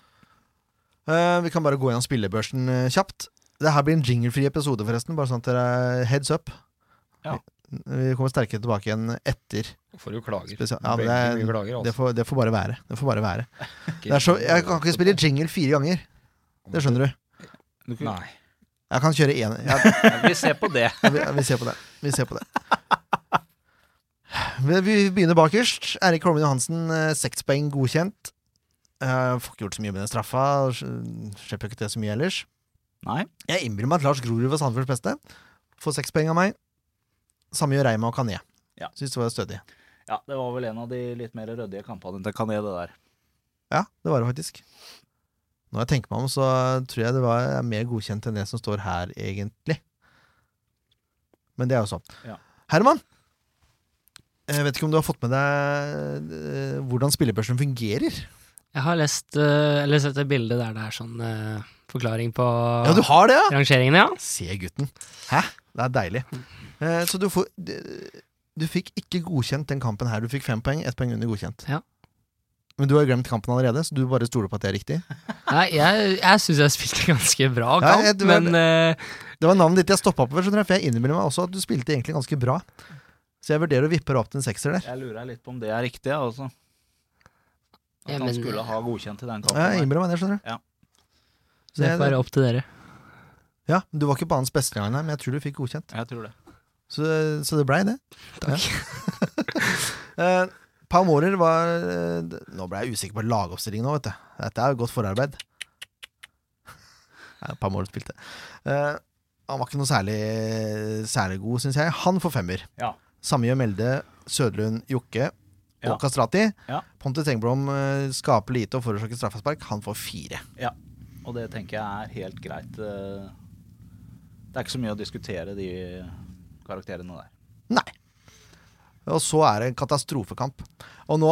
Eh, vi kan bare gå gjennom spillebørsen eh, kjapt. Det her blir en jinglefri episode, forresten. Bare sånn at dere er heads up.
Ja.
Vi, vi kommer sterkere tilbake igjen etter.
Får jo klager.
Spesial- ja, men
Veldig
det er-
mye klager,
Det
altså.
får, det får bare være. Det får bare være. Det er så, jeg kan ikke spille jingle fire ganger. Det skjønner du.
Nei.
Jeg kan kjøre én. Jeg,
Vi ser på det.
Ja, Vi, ja, vi ser på det. Vi ser på det. Vi, vi begynner bakerst. Erik Holmen Johansen, eh, seks poeng godkjent. Eh, får ikke gjort så mye med den straffa. sl- Slipper jo ikke til så mye ellers.
Nei.
Jeg innbiller meg at Lars Grorud var Sandefjords beste. Får seks poeng av meg. Samme gjør Reima og Kané.
Ja.
Syns det var stødig.
Ja, det var vel en av de litt mer ryddige kampene til Kané, det der.
Ja, det var det faktisk. Når jeg tenker meg om, så tror jeg det var er mer godkjent enn det som står her, egentlig. Men det er jo sånn.
Ja.
Herman! Jeg vet ikke om du har fått med deg eh, hvordan spillebørsen fungerer?
Jeg har lest, eh, eller sett et bilde der det er sånn eh, forklaring på
Ja, du har det, ja!
rangeringene, ja.
Se gutten. Hæ? Det er deilig. Eh, så du får d- Du fikk ikke godkjent den kampen her. Du fikk fem poeng, ett poeng under godkjent.
Ja.
Men du har jo glemt kampen allerede, så du bare stoler på at det er riktig.
Nei, jeg, jeg syns jeg spilte ganske bra
Ja,
kamp,
jeg- det var-
men eh,
Det var navnet ditt jeg stoppa på, skjønner jeg, for jeg innbiller meg også at du spilte egentlig ganske bra. Så jeg vurderer å vippe deg opp til en sekser der.
Jeg lurer litt på om det er riktig, ja, altså. At
Ja,
han
men-
skulle ha godkjent i den kampen.
Ja, jeg
der.
innbiller meg det, skjønner du.
Ja.
Så
det
jeg-
får være opp til dere.
ja, men du var ikke banens beste gang, nei, men jeg tror du fikk godkjent.
Jeg tror det.
Så, så det blei det.
Takk.
Ja. Eh, Pau Mårer var eh, d- Nå ble jeg usikker på lagoppstillingen nå, vet du. Dette er jo godt forarbeid. Nei, Pau Mårer spilte. Eh, han var ikke noe særlig, særlig god, syns jeg. Han får femmer.
Ja.
Samme gjør Melde, Sødlund, Jokke og
Ja.
Kastrati.
Ja.
Ponte Tengblom eh, skaper lite og forårsaker straffespark. Han får fire.
Og det tenker jeg er helt greit. eh. Det er ikke så mye å diskutere de karakterene der.
Nei. Og så er det en katastrofekamp. Og nå,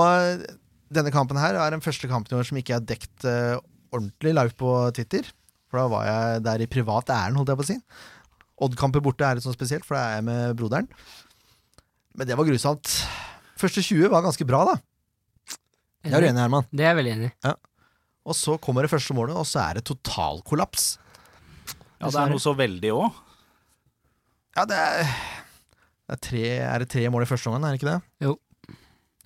denne kampen her er den første kampen i år som ikke er dekt eh, ordentlig live på Twitter. For da var jeg der i privat ærend, holdt jeg på å si. Odd-kamper borte er litt sånn spesielt, for da er jeg med broderen. Men det var grusomt. Første 20 var ganske bra, da. Jeg er uenig, Herman.
Det er jeg veldig enig i.
Og så kommer det første målet, og så er det totalkollaps.
Ja, det er noe så veldig òg.
Ja, det er, det er, tre, er det tre mål i første omgang, er det ikke det?
Jo.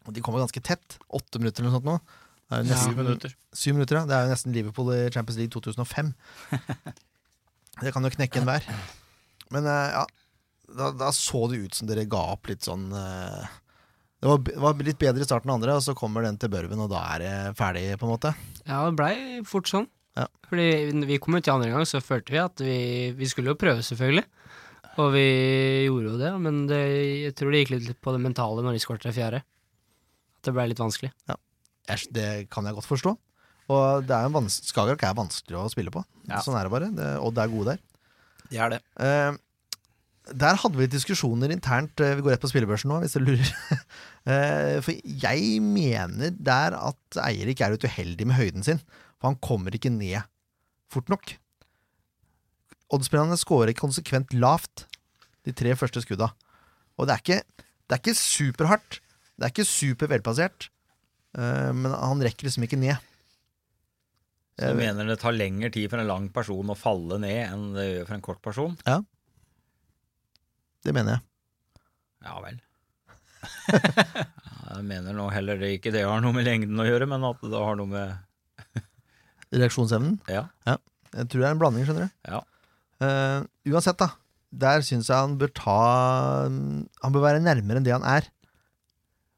Og de kommer ganske tett. Åtte minutter eller noe sånt nå. Det er jo nesten-
Syv minutter.
Syv minutter, ja. Det er jo nesten Liverpool i Champions League 2005. Det kan jo knekke enhver. Men eh, ja, da, da så det ut som dere ga opp litt sånn eh, det var, det var litt bedre i starten enn andre, og så kommer den til Børven, og da er det ferdig, på en måte.
Ja, det blei fort sånn.
Ja.
Fordi når vi kom ut i andre gang, så følte vi at vi, vi skulle jo prøve, selvfølgelig. Og vi gjorde jo det, men det, jeg tror det gikk litt på det mentale når de skåret det fjerde. At det blei litt vanskelig.
Jeg, det kan jeg godt forstå. Og det er jo en vans- Skagerrak er vanskelig å spille på.
Ja.
Sånn er det bare. Det, Odd er gode der.
Det er det.
Eh, der hadde vi litt diskusjoner internt. eh, Vi går rett på spillebørsen nå, hvis du lurer. Eh, for jeg mener der at Eirik er litt uheldig med høyden sin. For han kommer ikke ned fort nok. Oddspillerne scorer konsekvent lavt de tre første skudda. Og det er ikke, det er ikke superhardt. Det er ikke supervelplassert. eh, men han rekker liksom ikke ned.
Så
Jeg
du
vet-
mener det tar lengre tid for en lang person å falle ned enn det gjør for en kort person?
Det mener jeg.
Ja vel. Jeg mener nå heller det ikke det har noe med lengden å gjøre, men at det har noe med
Reaksjonsevnen.
Ja.
Jeg tror det er en blanding, skjønner du.
Ja.
Eh, uansett, da. Der syns jeg han bør ta Han bør være nærmere enn det han er.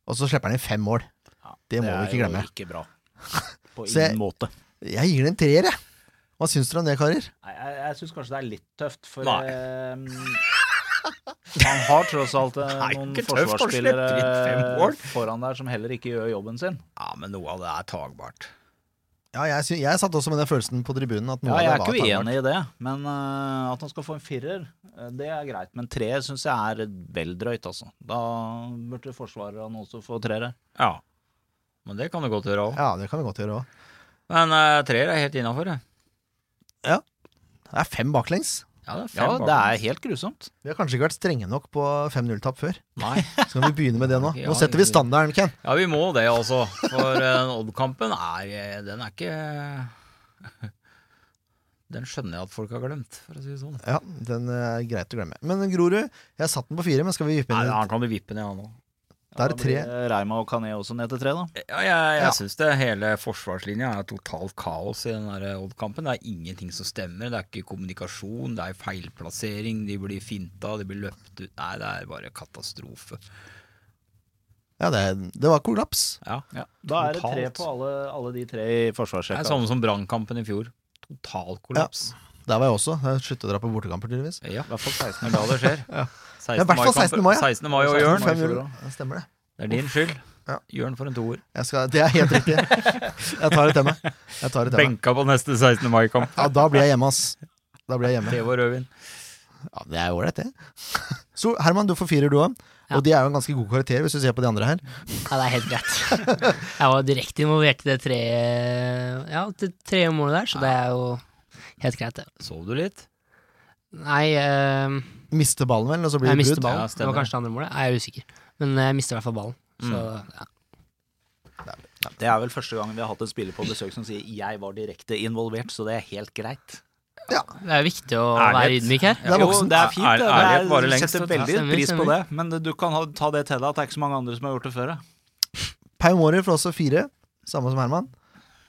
Og så slipper han inn fem mål.
Ja,
Det må vi ikke glemme.
Det er jo ikke bra. På
Se-
ingen måte.
Jeg gir det en treer, jeg. Hva syns dere om det, karer?
Nei, jeg jeg syns kanskje det er litt tøft, for
Nei.
ehm, han har tross alt eh,
Nei,
noen
ikke tøft, han
forsvarsspillere
slipper inn fem mål.
foran der som heller ikke gjør jobben sin.
Ja, men noe av det er tagbart.
Ja, jeg, sy- jeg satt også med den følelsen på tribunen. At noe
Ja, jeg er
av det
ikke
var tagbart.
uenig i det, men eh, at han skal få en firer, eh, det er greit. Men treer syns jeg er vel drøyt, altså. Da burde forsvarerne også få treere.
Ja. Men det kan du godt gjøre òg.
Ja, det kan vi godt gjøre òg.
Men uh, treer er helt innafor, det.
Det er fem baklengs.
Ja, det er
Ja,
bak.
det er helt grusomt.
Vi har kanskje ikke vært strenge nok på 5-0-tap før.
Nei.
Så kan vi begynne med det nå.
Ja,
Nå setter vi standarden, Ken.
Ja, vi må det, altså. For eh, Odd-kampen er eh, Den er ikke Den skjønner jeg at folk har glemt, for å si det sånn.
Ja, den eh, er greit å glemme. Men Grorud, jeg satt den på fire, men skal vi vippe
Nei,
inn
han kan du vippe ned, han òg.
Da er det tre.
Reima eh, og Kané også ned til tre, da.
Ja, jeg, jeg
Ja.
syns det. Hele forsvarslinja er totalt kaos i den der Odd-kampen. Det er ingenting som stemmer. Det er ikke kommunikasjon, det er feilplassering. De blir finta, de blir løpt ut. Nei, det er bare katastrofe.
Ja, det, det var kollaps.
Ja.
Ja. Da er det tre
Totalt.
på alle, alle de tre i
Det er
forsvarsrekka.
samme som Brannkampen i fjor. Total kollaps.
Der var jeg også. Jeg sluttet å dra på bortekamper, tydeligvis.
Ja.
I hvert fall 16
Det er da det skjer.
Ja, i hvert fall 16. mai, ja.
16. mai og
Bjørn,
Jørn.
mai i fjor
5-0.
også.
Ja, stemmer det.
Det er din skyld.
Ja.
Jørn for en toer.
Jeg skal, det er helt riktig. Jeg tar et emme. Jeg tar et emme.
Benka på neste 16. mai-kamp.
Ja, da blir jeg hjemme, ass. Da blir jeg hjemme.
Teve og rødvin.
Ja, det er ålreit, det. Så Herman, du får firer, du òg.
Ja.
Og de er jo en ganske god karakter, hvis du ser på de andre her.
Ja, det er helt greit. Jeg var direkte involvert i det tre, ja, det tre målet der, så det er jo helt greit, det.
Sov du litt?
Nei, eh,
Mister ballen, vel, og så blir
jeg
det
mister
brudd.
ballen.
Ja,
det
stemmer.
var kanskje det andre målet. Jeg er usikker. Men eh, jeg mister i hvert fall ballen. Så
Mm.
ja.
Det er vel første gang vi har hatt en spiller på besøk som sier 'jeg var direkte involvert', så det er helt greit.
det er viktig å være
Ærlighet.
ydmyk her.
Det er voksen.
Jo, det er fint.
Ær-
det.
ærlighet varer
det er,
lengst,
setter
vet du.
veldig
Stemmer,
pris på
stemmer.
det, men det- du kan ha, ta det til deg at det er ikke så mange andre som har gjort det før. ja.
Paimori får også fire, samme som Herman.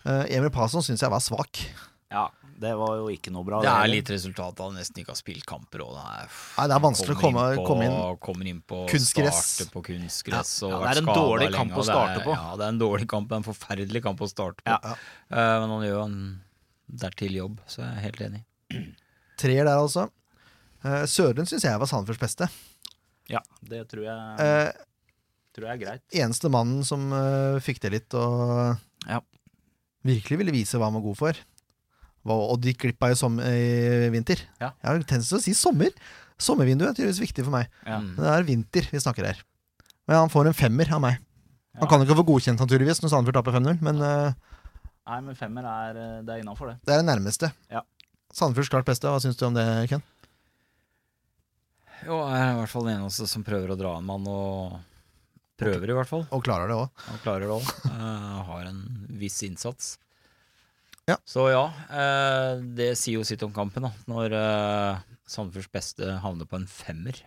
Eh, Emil Passon syns jeg var svak.
Ja, det var jo ikke noe bra.
Det er
heller.
litt resultat av at han nesten ikke har spilt kamper. Og det, er,
Nei, det er vanskelig å komme-
på,
komme inn-
Kommer inn på
Kunstgress.
Starte på kunstgress
Ja,
og
ja, det er en
vært skadet
dårlig kamp
lenge, og
å
det er-
starte på.
Ja, det er en dårlig kamp. Det er en forferdelig kamp å starte på.
Ja.
Ja.
Eh, men han gjør jo en dertil jobb, så jeg er helt enig.
Treer der, altså. Uh, Søren syns jeg var Sandefjords beste.
Ja, det tror jeg,
Eh,
tror jeg er greit.
eneste mannen som eh, fikk det litt og
Ja.
virkelig ville vise hva han var god for. Hva- Og de klippa i, som, i vinter.
Ja.
Jeg har en tendens til å si sommer. Sommervinduet er tydeligvis viktig for meg.
Ja.
Mm.
Men det er vinter vi snakker her. Men han får en femmer av meg.
Ja.
Han kan ikke få godkjent, naturligvis, når Sandefjord taper 5-0, men eh,
Nei, men femmer er, eh, det er innafor, det.
det er det nærmeste.
Ja.
Sandefjords klart beste. Hva syns du om det, Ken?
Jo, jeg er i hvert fall den eneste som prøver å dra en mann, og prøver i hvert fall.
Og klarer det òg.
Han klarer det òg. Eh, har en viss innsats.
Ja.
Så ja, eh, det sier jo sitt om kampen, da. Når eh, Sandefjords beste havner på en femmer.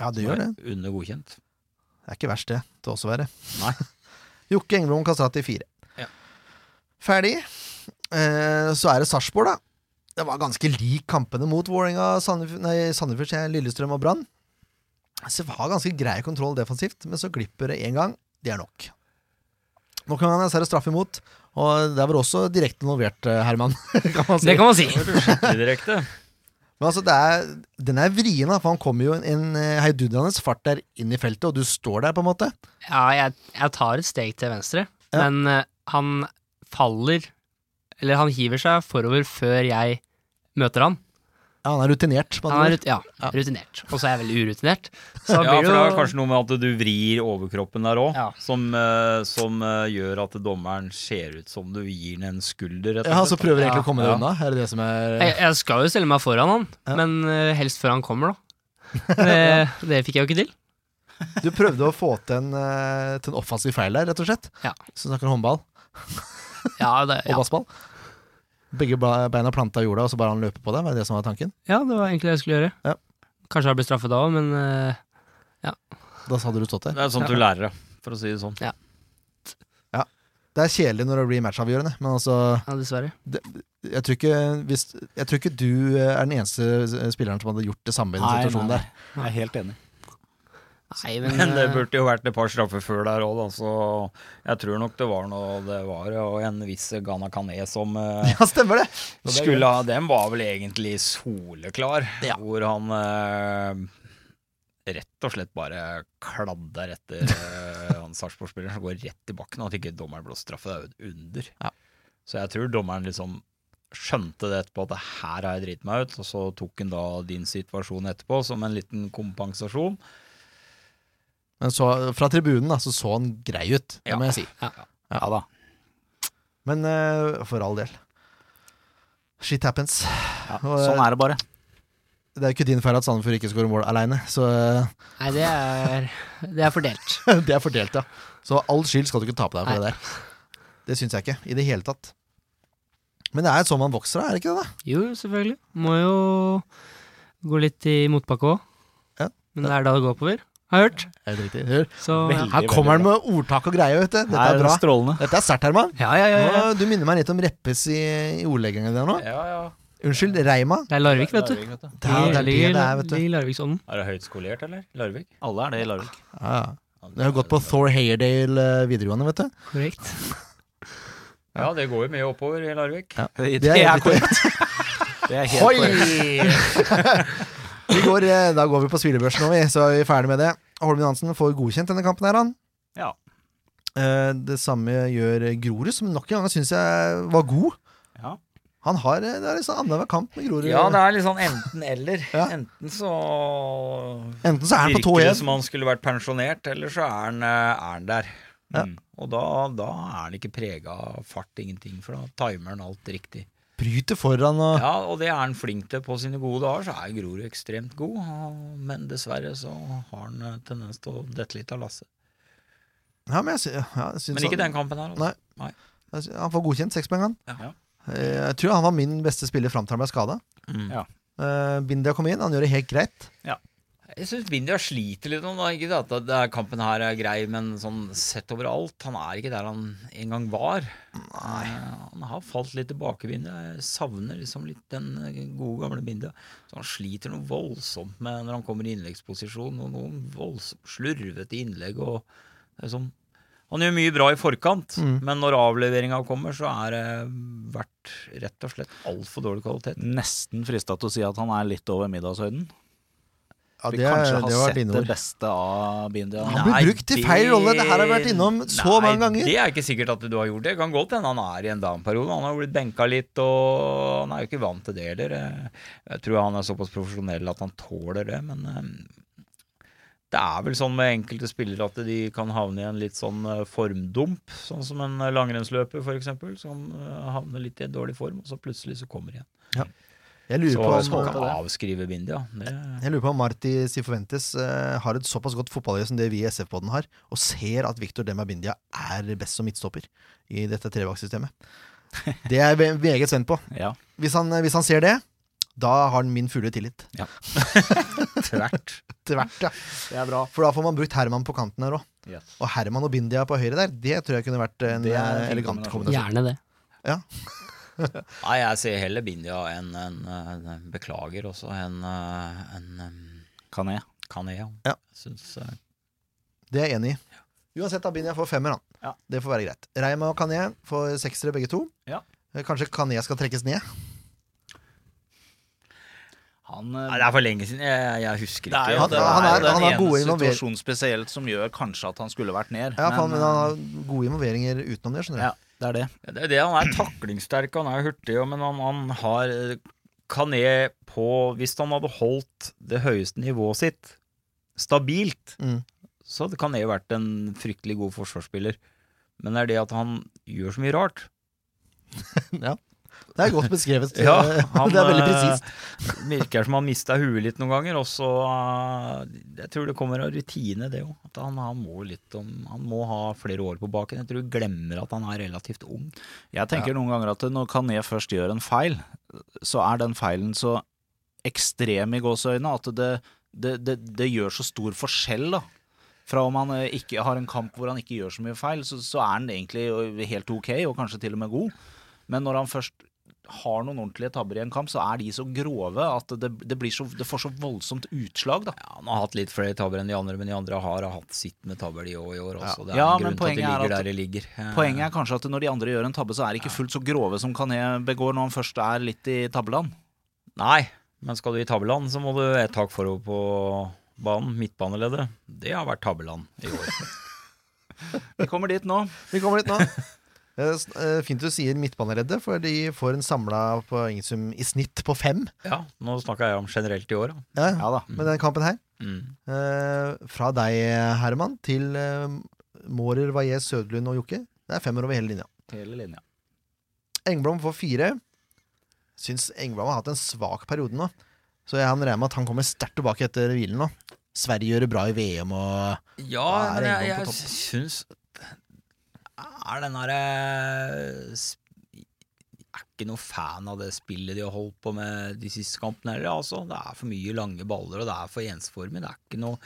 Ja, det gjør det.
Under godkjent.
Det er ikke verst, det. Det også være.
Nei.
Jokke Engblom Kastrati 4.
Ja.
Ferdig. Eh, så er det Sarpsborg, da. Det var ganske lik kampene mot Vålerenga, Sandef- nei, Sandefjord, sier jeg, Lillestrøm og Brann. Så det var ganske grei kontroll defensivt, men så glipper det én gang. Det er nok. Nok en gang så er det straff imot, og der var også direkte involvert, eh, Herman. kan man si.
Det kan man si.
Skikkelig direkte.
Men altså, det er, den er vrien, da, for han kommer jo en, en eh, heidundrende fart der inn i feltet, og du står der, på en måte.
Ja, jeg, jeg tar et steg til venstre,
Ja.
men eh, han faller Eller han hiver seg forover før jeg møter han.
Ja, han er rutinert. med
Han
andre
er
ord.
rut ja, rutinert, og så er jeg veldig urutinert. Så da
Ja, for
blir
det
det
er
jo
kanskje noe med at du vrir overkroppen der òg,
Ja.
som, eh, som eh, gjør at dommeren ser ut som du gir den en skulder, rett
Ja,
og
så
slett.
prøver jeg egentlig
Ja.
å komme deg
Ja.
unna. Er det det som er
jeg, jeg skal jo stelle meg foran han,
Ja.
men eh, helst før han kommer, da. Det, det fikk jeg jo ikke til.
Du prøvde å få til en, eh, til en offensiv feil der, rett og slett.
Ja.
Så snakker du håndball og
Ja, det, ja.
bassball. Begge ba- beina planta i jorda, og så bare han løper på deg. Var det det som var tanken?
ja, det var egentlig det jeg skulle gjøre.
Ja.
Kanskje jeg ble straffet da òg, men eh,
Da hadde du stått der.
Det er sånt du lærer det, for å si det sånn.
Det er kjedelig når det blir matchavgjørende, men altså
ja, dessverre.
Jeg tror ikke, hvis, jeg tror ikke du eh, er den eneste s- spilleren som hadde gjort det samme i den situasjonen der.
Jeg er helt enig.
Nei, men,
Men det
eh,
burde jo vært et par straffer før der òg, da. Så jeg tror nok det var noe Det var jo en viss Ghana Kané som eh,
Ja, stemmer det!
skulle ha Den var vel egentlig soleklar, hvor han eh, rett og slett bare kladder etter eh, han Sarpsborg-spilleren som går rett i bakken, og at ikke dommeren blåser straffe. Det er jo et under. Så jeg tror dommeren liksom skjønte det etterpå, at det her har jeg driti meg ut, og så tok han da din situasjon etterpå som en liten kompensasjon.
Men så, fra tribunen da, så så han grei ut, det
eh,
Ja.
må jeg si.
Ja da.
Men eh, for all del. Shit happens.
Ja,
Og, eh,
sånn er det bare.
Det er jo ikke din feil at Sandefjord ikke skårer mål aleine, så eh,
nei, det er, det er fordelt.
Det er fordelt, ja. Så all skyld skal du ikke ta på deg for
Nei.
det der. Det syns jeg ikke i det hele tatt. Men det er sånn man vokser, da, er det ikke det? da?
Jo, selvfølgelig. Må jo gå litt i motbakke òg.
Ja.
Men det er da det går oppover, har jeg hørt.
Er det riktig? Hør.
Så ja.
Veldig,
Her kommer
veldig
han med ordtak og greier, vet du. Dette
Nei,
er
det
bra.
Strålende.
Dette er sterkt, Herman.
Ja, ja, ja, ja.
Nå, du minner meg litt om Reppes i, i ordleggingen din nå.
Ja, ja.
Unnskyld, Reima.
Det er Larvik, vet du.
Det er det, er det det er, vet du.
Ligger i Larviksånden.
Er det høyt skolert, eller? Larvik?
Alle er det i Larvik.
Ja, ja. Jeg har gått på Thor Heyerdale eh, videregående, vet du.
Korrekt.
Ja, det går jo mye oppover i Larvik.
Ja.
Det
er
er
helt
korrekt. Det er helt korrekt.
Vi går, eh, da går vi på spillebørsen nå, vi, så er vi ferdig med det. Holmen Johansen får godkjent denne kampen her, han.
Ja.
Eh, Det samme gjør Grorud, som nok en gang syns jeg var god.
Ja.
Han har eh, det er liksom annenhver kamp med Grorud.
Ja, det er litt sånn enten-eller.
Ja.
Enten så
Enten så er han på
virker det
2-1.
som han skulle vært pensjonert, eller så er han, eh, er han der.
Ja.
Mm. Og da, da er han ikke prega av fart, ingenting, for da timer han alt riktig.
Bryter foran og
Ja, og det er han flink til. På sine gode dager så er Grorud ekstremt god, og- men dessverre så har han eh, tendens til å dette litt av lasset.
Ja, men jeg, sy- ja, jeg syns
Men ikke
han,
den kampen her.
Nei.
Altså. Nei.
jeg sy- han får godkjent seks poeng, han.
Ja.
Eh, Jeg tror han var min beste spiller fram til han ble skada.
Mm.
Ja.
Bindia kom inn, han gjør det helt greit.
Jeg syns Bindia sliter litt nå. da. Ikke det at det- det- kampen her er grei, men sånn sett over alt Han er ikke der han en gang var. Nei. Han har falt litt tilbake, Bindia. Jeg savner liksom litt den eh, gode, gamle Bindia. Så han sliter noe voldsomt med når han kommer i innleggsposisjon. Og noen voldsomt slurvete innlegg og det er sånn han gjør mye bra i forkant,
Mm.
men når avleveringa kommer, så er det vært rett og slett altfor dårlig kvalitet.
Nesten frista til å si at han er litt over middagshøyden.
Ja,
Vi
det,
kanskje har
det var
sett
dine
det
ord.
beste av Bindia.
Han blir brukt i feil rolle, det her har vi vært innom så mange ganger.
Det er ikke sikkert at du har gjort det. Det kan godt hende han er i en down-periode. Han har blitt benka litt, og han er jo ikke vant til det heller. Jeg tror han er såpass profesjonell at han tåler det, men eh, det er vel sånn med enkelte spillere at de kan havne i en litt sånn eh, formdump, sånn som en eh, langrennsløper f.eks., som eh, havner litt i en dårlig form, og så plutselig så kommer igjen.
Jeg lurer,
Så
på
skal
om,
ikke avskrive Bindia. Det,
jeg lurer på om Marti Sifuentes eh, har et såpass godt fotballøye som det vi i SF-podden har, og ser at Victor Demba Bindia er best som midtstopper i dette trebakksystemet. Det er jeg ve- meget spent på.
Ja.
Hvis han, eh, hvis han ser det, da har han min fulle tillit.
tvert.
Tvert, ja. Det er bra. For da får man brukt Herman på kanten her òg.
Yes.
Og Herman og Bindia på høyre der, det tror jeg kunne vært en,
Det er
eh,
en fin
elegant
kombinasjon.
kombinasjon.
Gjerne det.
Nei, jeg ser heller Bindia enn en, eh, en beklager også, enn eh, en, em,
Kan jeg?
Kané. Ja.
Ja.
Syns, eh,
Det er jeg enig i. Uansett, da Bindia får femmer, han.
Ja.
Det får være greit. Reima og Kané får seksere, begge to.
Ja.
Eh, Kanskje Kané skal trekkes ned?
Han, eh,
Nei, det er for lenge siden. Jeg, jeg husker
Det
ikke.
er jo
Han-
det,
han
er,
er-
jo den
han er
ene
gode involver-
situasjonen spesielt som gjør kanskje at han skulle vært ned.
Ja, faen, men
eh,
han har gode involveringer utenom det, skjønner du.
ja, det er det.
Det er det, han er taklingssterk, han er hurtig, og- men han, han har eh, Kané på Hvis han hadde holdt det høyeste nivået sitt stabilt,
Mm.
så hadde Kané vært en fryktelig god forsvarsspiller. Men det er det at han gjør så mye rart.
Det er godt beskrevet.
Ja,
eh,
han,
det er veldig
eh,
presist.
Virker som han mista huet litt noen ganger. Og så eh, Jeg tror det kommer av rutine, det òg. At han, han må litt om Han må ha flere år på baken. Jeg tror du glemmer at han er relativt ung.
Jeg tenker noen ganger at når Kané først gjør en feil, så er den feilen så ekstrem i gåseøynene at det, det, det, det gjør så stor forskjell, da. Fra om han eh, ikke har en kamp hvor han ikke gjør så mye feil, så, så er han egentlig jo helt ok, og kanskje til og med god. Men når han først har noen ordentlige tabber i en kamp, så er de så grove at det, det, blir så, det får så voldsomt utslag, da.
Ja, Han har hatt litt flere tabber enn de andre, men de andre har hatt sitt med tabber de òg i år også. Det er
Ja,
en
men
grunn til at de
poenget er
ligger
at-
der de ligger. Eh,
Poenget er kanskje at når de andre gjør en tabbe, så er de ikke fullt så grove som Kané begår når han først er litt i tabbeland.
Nei, men skal du i tabbeland, så må du et tak forover på banen. Midtbaneleddet. Det har vært tabbeland i år.
Vi kommer dit nå.
Vi kommer dit nå. Eh, s- eh, Fint du sier midtbanereddet, for de får en samla poengsum i snitt på fem.
Ja, nå snakka jeg om generelt i år, da.
Ja,
Ja da.
Med den kampen her.
Mm.
Eh, fra deg, Herman, til eh, Mårer, Vajez, Sødlund og Jokke. Det er femmer over hele linja.
Hele linja.
Engblom får fire. Syns Engblom har hatt en svak periode nå, så jeg han regner med at han kommer sterkt tilbake etter hvilen nå. Sverige gjør det bra i VM og
Ja,
Da er
men jeg,
Engblom på
jeg
topp.
syns Er den derre Er ikke noe fan av det spillet de har holdt på med de siste kampene heller, altså. Det er for mye lange baller, og det er for ensformig. Det er ikke noe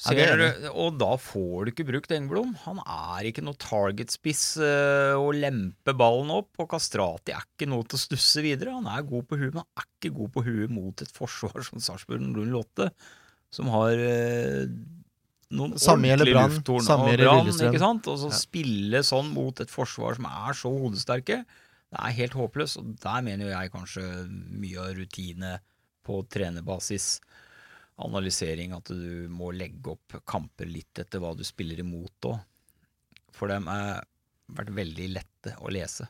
Ja, det er
Ser du, og da får du ikke brukt Engblom. Han er ikke noe targetspiss eh, å lempe ballen opp, og Kastrati er ikke noe til å stusse videre. Han er god på huet, men han er ikke god på huet mot et forsvar som Sarpsborg 08, som har eh, noen
Samme gjelder
ordentlige
Brann,
lufttorn
samme
og
gjelder
Brann,
Lillestrøm.
ikke sant? Og så
Ja.
spille sånn mot et forsvar som er så hodesterke, det er helt håpløst. Og der mener jo jeg kanskje mye av rutine på trenerbasis analysering at du må legge opp kamper litt etter hva du spiller imot òg. For dem har vært veldig lette å lese.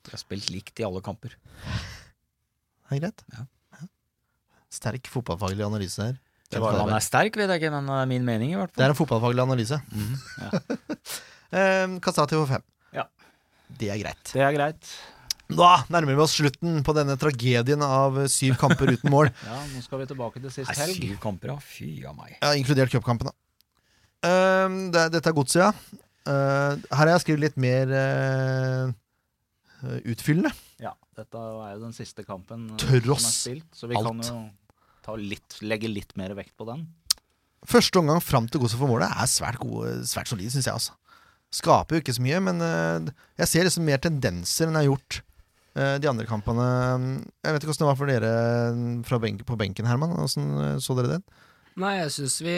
De har spilt likt i alle kamper.
Det er greit.
Ja.
Sterk fotballfaglig analyse her.
Det var, han er sterk, vet jeg ikke, men det er min mening i hvert
Det
fall.
er en fotballfaglig analyse. Eh, Kassati får fem.
Ja.
Det er greit.
Det er greit.
Da nærmer vi oss slutten på denne tragedien av eh, syv kamper uten mål,
Ja, nå skal vi tilbake til sist
Det er
helg.
syv kamper, ja. Fy a meg.
ja, inkludert cupkampene. Eh, det, er- dette er godset, ja. Eh, her har jeg skrevet litt mer eh, utfyllende.
Ja, dette er jo den siste kampen eh,
Tross
som er spilt, så vi
alt.
kan jo ta litt, legge litt mer vekt på den.
Første omgang fram til godset for målet er svært, gode, svært solid, syns jeg. altså Skaper jo ikke så mye, men eh, jeg ser liksom mer tendenser enn jeg har gjort eh, de andre kampene. Jeg vet ikke åssen det var for dere eh, fra benk, på benken, Herman. Åssen eh, så dere den?
Nei, jeg syns vi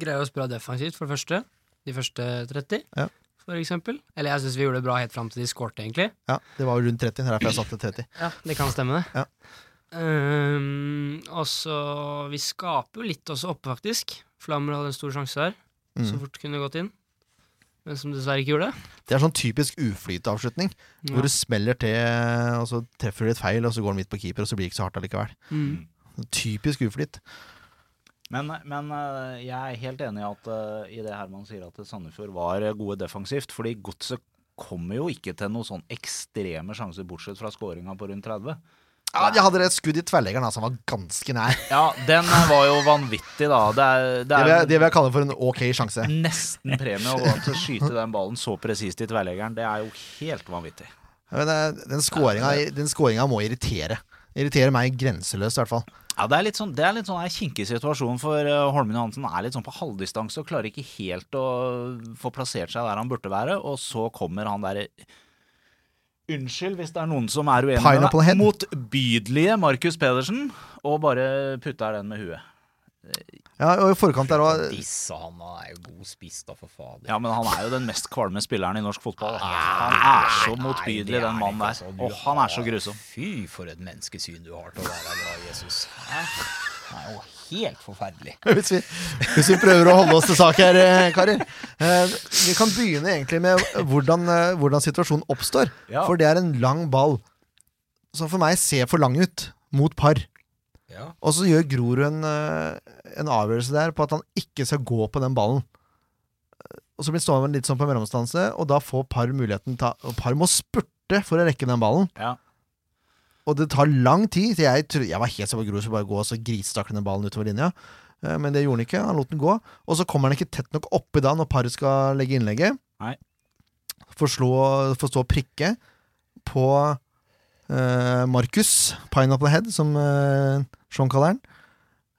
greier oss bra defensivt, for det første. De første 30,
Ja.
for eksempel. Eller jeg syns vi gjorde det bra helt fram til de skårte, egentlig.
Ja, Det var jo rundt 30, det er derfor jeg satte 30.
Ja, det kan stemme, det.
Ja.
Ehm, og så Vi skaper jo litt også oppe, faktisk. Flammer hadde en stor sjanse her, så
Mm.
fort kunne gått inn. Men som dessverre ikke gjorde det.
Det er sånn typisk uflytavslutning, hvor du smeller til, eh, og så treffer du litt feil, og så går den midt på keeper, og så blir det ikke så hardt allikevel. Sånn
Mm.
Typisk uflyt.
Men, men eh, jeg er helt enig i at, eh, i det Herman sier at Sandefjord var eh, gode defensivt. Fordi godset kommer jo ikke til noen sånn ekstreme sjanser, bortsett fra skåringa på rundt 30.
Ja, Jeg hadde et skudd i tverrleggeren, altså. Han var ganske nær.
Ja, den eh, var jo vanvittig, da. Det er, det
Det vil jeg,
er
det vil jeg kalle for en ok sjanse.
nesten premie å gå an til å skyte den ballen så presist i tverrleggeren. Det er jo helt vanvittig.
Men eh, den scoringa, den scoringa må irritere. Irritere meg grenseløst, i hvert fall.
Ja, Det er litt sånn, det er litt sånn en kinkig situasjon, for eh, Holmen Johansen er litt sånn på halvdistanse og klarer ikke helt å få plassert seg der han burde være, og så kommer han derre Unnskyld hvis det er noen som er uenig med
Pineapple
meg.
head.
Motbydelige Markus Pedersen, og bare putter den med huet.
Ja, og i forkant der òg
Disse han er jo god spiss, da, for fader.
Ja, men han er jo den mest kvalme spilleren i norsk fotball. Han er så motbydelig, den mannen der.
altså.
Åh, han er så grusom.
Fy, for et menneskesyn du har til å være glad i Jesus. Det er jo helt forferdelig.
hvis, vi- hvis vi prøver å holde oss til sak her, eh, karer. Eh, Vi kan begynne egentlig med hvordan, eh, hvordan situasjonen oppstår.
Ja.
For det er en lang ball som for meg ser for lang ut mot par.
Ja.
Og så gjør Grorud en, eh, en avgjørelse der på at han ikke skal gå på den ballen. Og så blir Stålen litt sånn på mellomstanse, og da får Par muligheten ta, Og Par må spurte for å rekke den ballen.
Ja.
Og det tar lang tid. til Jeg, tro- jeg var helt sikker på at Grorud skulle bare gå og så grisstakle den ballen utover linja. Eh, Men det gjorde han ikke. Han lot den gå. Og så kommer han ikke tett nok oppi da når Par skal legge innlegget.
Nei.
Får, slå, får stå og prikke på eh, Markus, Pineapple Head, som eh, Sean kaller han.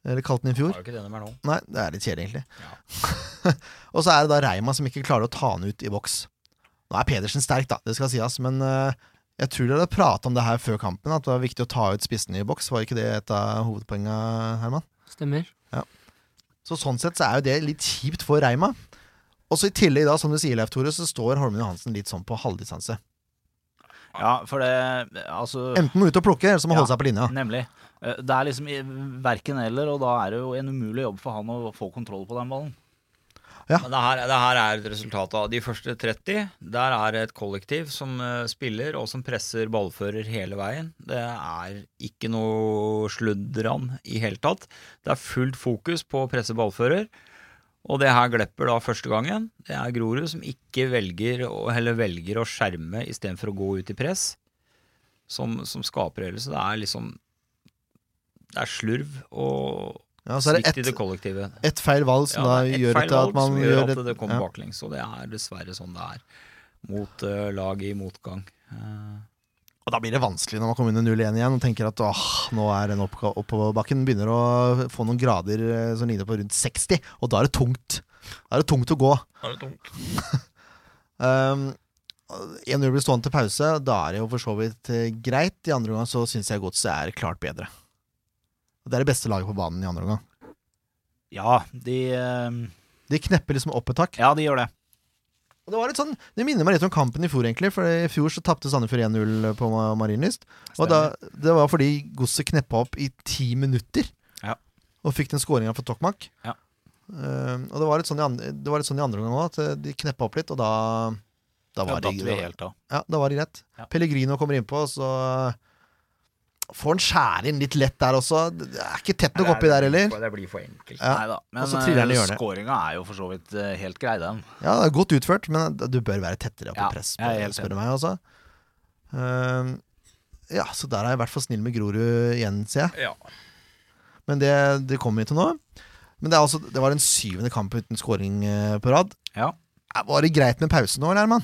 Eller kalte han i fjor.
Har jo ikke det de er nå.
Nei, det er litt kjedelig, egentlig. og så er det da Reima som ikke klarer å ta han ut i boks. Nå er Pedersen sterk, da, det skal sies, men eh, jeg tror dere prata om det her før kampen, at det var viktig å ta ut spissene i boks. Var ikke det et av hovedpoenga, Herman?
Stemmer.
Så sånn sett så er jo det litt kjipt for Reima. Og så i tillegg, da, som du sier, Leif Tore, så står Holmen Johansen litt sånn på halvdistanse.
Ja, for det
Øh.
Altså
Enten må ut og plukke, eller så må
Ja.
holde seg på linja.
Nemlig. Eh, Det er liksom i- verken eller, og da er det jo en umulig jobb for han å få kontroll på den ballen.
Men det her, det her er et resultat av de første 30. Der er det et kollektiv som eh, spiller og som presser ballfører hele veien. Det er ikke noe sluddran i hele tatt. Det er fullt fokus på å presse ballfører. Og det her glepper da første gangen. Det er Grorud som ikke velger å, eller velger å skjerme istedenfor å gå ut i press, som, som skaper ellers. Det er liksom Det er slurv og
Ja, så Altså, er det
svikt i
ett
det kollektivet.
ett feil valg som
Ja, det
da
er et
gjør
feil
til at
valg
man
som
gjør
gjør at
et-
det kommer
ja.
baklengs, og det er dessverre sånn det er mot uh, lag i motgang. Eh,
Og da blir det vanskelig når man kommer under 0-1 igjen og tenker at åh, nå er den oppga- oppoverbakken begynner å få noen grader eh, som ligner på rundt 60, og da er det tungt. Da er det tungt å gå. Um, 1-0 blir stående til pause, da er det jo for så vidt eh, greit. I andre omgang så syns jeg godset er klart bedre. Det er det beste laget på banen i andre omgang.
Ja, de, eh,
De knepper liksom opp et tak.
ja, de gjør det.
Og det, var litt sånn, det minner meg litt om kampen i fjor, egentlig. For i fjor så tapte Sandefjord 1-0 på Ma- Marienlyst. Og da, det var fordi godset kneppa opp i ti minutter.
Ja.
og fikk den skåringa for Tokmak.
Ja.
Eh, og det var litt sånn i andre, det var litt sånn i andre omgang òg, at eh, de kneppa opp litt, og da Da
Ja,
var
datt vi
det
helt av.
ja, da var det greit.
Ja.
Pellegrino kommer innpå, og så får han skjære inn litt lett der også. Det er ikke tett nok oppi der heller.
Det blir for enkelt.
Ja.
Neida,
og så triller han i
eh,
hjørnet.
skåringa er jo for så vidt eh, helt grei, den.
Ja, det er godt utført, men du bør være tettere på
Ja,
press,
jeg er helt
spør du meg, altså. Ehm, ja, så der er jeg i hvert fall snill med Grorud igjen, sier jeg.
Ja.
Men det, det kommer vi til nå. Men det, er altså, det var den syvende kamp uten scoring eh, på rad.
Ja.
Eh, Var det greit med pause nå, eller, Herman?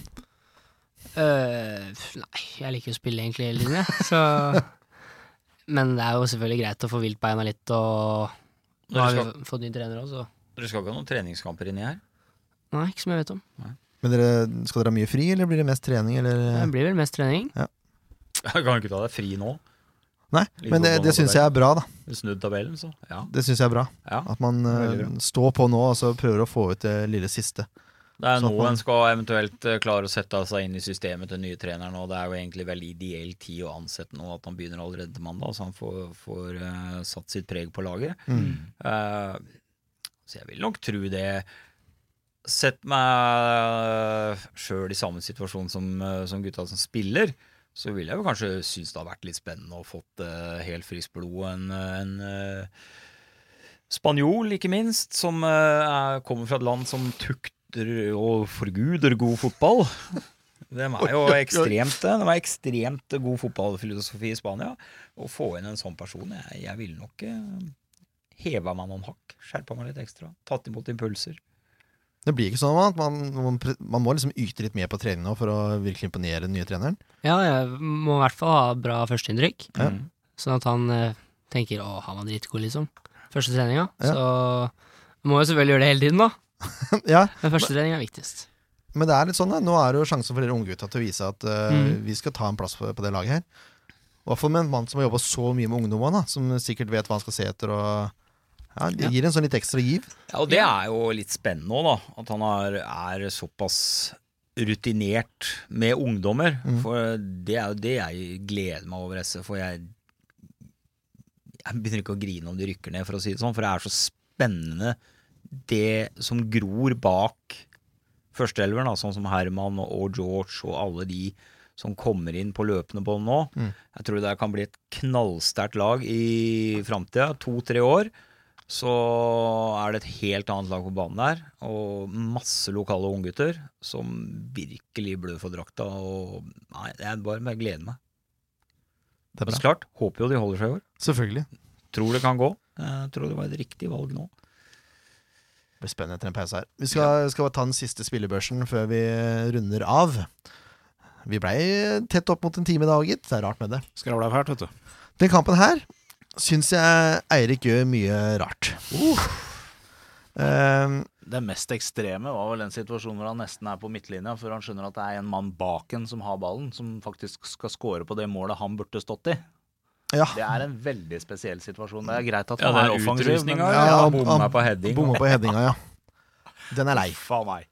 Eh, pff, nei, jeg liker å spille egentlig hele tiden, jeg. Så Men det er jo selvfølgelig greit å få vilt beina litt, og nå har vi fått ny trener òg, så
Dere skal ikke ha noen treningskamper inni her?
Nei, ikke som jeg vet om.
Men dere, skal dere ha mye fri, eller blir det mest trening? Eller?
Det blir vel mest trening.
Jeg kan jo ikke ta deg fri nå.
Nei,
Ligger
men det,
på
det
banen
syns jeg er bra, da.
Snudd tabellen, så. Ja.
Det synes jeg er bra.
ja.
At man eh,
Veldig bra.
står på nå og så prøver å få ut det lille siste.
Det er
Så
nå
han-
en skal eventuelt eh, klare å sette seg inn i systemet til den nye treneren. Og det er jo egentlig veldig ideell tid å ansette nå, at han begynner allerede til mandag. Så han får, får eh, satt sitt preg på laget. Eh, så jeg vil nok tro det. Sett meg sjøl i samme situasjon som, eh, som gutta som spiller. Så ville jeg jo kanskje synes det har vært litt spennende og fått eh, helt friskt blod. En, en eh, spanjol, ikke minst, som eh, er, kommer fra et land som tukter og forguder god fotball. De er jo ekstremt, de er ekstremt god fotballfilosofi i Spania. Å få inn en sånn person Jeg, jeg ville nok eh, heva meg noen hakk. Skjerpa meg litt ekstra. Tatt imot impulser.
Det blir ikke sånn at man, man, pre- man må liksom yte litt mer på trening nå for å virkelig imponere den nye treneren.
Ja, jeg må i hvert fall ha bra førsteinntrykk,
Ja.
Mm.
sånn at han eh, tenker 'å, han var dritgod', liksom. Første treninga.
Ja.
Så må jo selvfølgelig gjøre det hele tiden, da.
ja,
Men første trening er viktigst.
men det er litt sånn, da. Nå er det jo sjansen for dere unggutta til å vise at eh,
Mm.
vi skal ta en plass på, på det laget her. I hvert fall med en mann som har jobba så mye med ungdommene, da, som sikkert vet hva han skal se etter. og ja, Det gir en sånn litt ekstra giv.
Ja, og det er jo litt spennende òg, da. At han er, er såpass rutinert med ungdommer.
Mm.
For det er jo det jeg gleder meg over SF, for jeg Jeg begynner ikke å grine om de rykker ned, for å si det sånn, for det er så spennende det som gror bak førsteelveren, da, sånn som Herman og George og alle de som kommer inn på løpende bånd nå.
Mm.
Jeg tror det kan bli et knallsterkt lag i framtida, to-tre år så er det et helt annet lag på banen der, og masse lokale unggutter som virkelig blør for drakta. Og nei, jeg bare jeg gleder meg.
Det er
Men
bra.
så klart, håper jo de holder seg i år.
Selvfølgelig.
Tror det kan gå. Jeg tror det var et riktig valg nå.
Det blir spennende etter en pause her. Vi skal, skal bare ta den siste spillebørsen før vi runder av. Vi blei tett opp mot en time i dag, gitt. Det er rart med det.
Skravla fælt, vet du.
Den kampen her syns jeg Eirik gjør mye rart. Ehm,
Det mest ekstreme var vel den situasjonen hvor han nesten er på midtlinja, før han skjønner at det er en mann bak en som har ballen, som faktisk skal score på det målet han burde stått i.
ja.
Det er en veldig spesiell situasjon. Det er greit at
Ja,
han
det
er
er
offensiv, men
utrustninga.
Ja,
Ja,
han-
Bomma
han-
på heading.
Bomma på headinga, ja. Den er lei. Eh,
faen meg.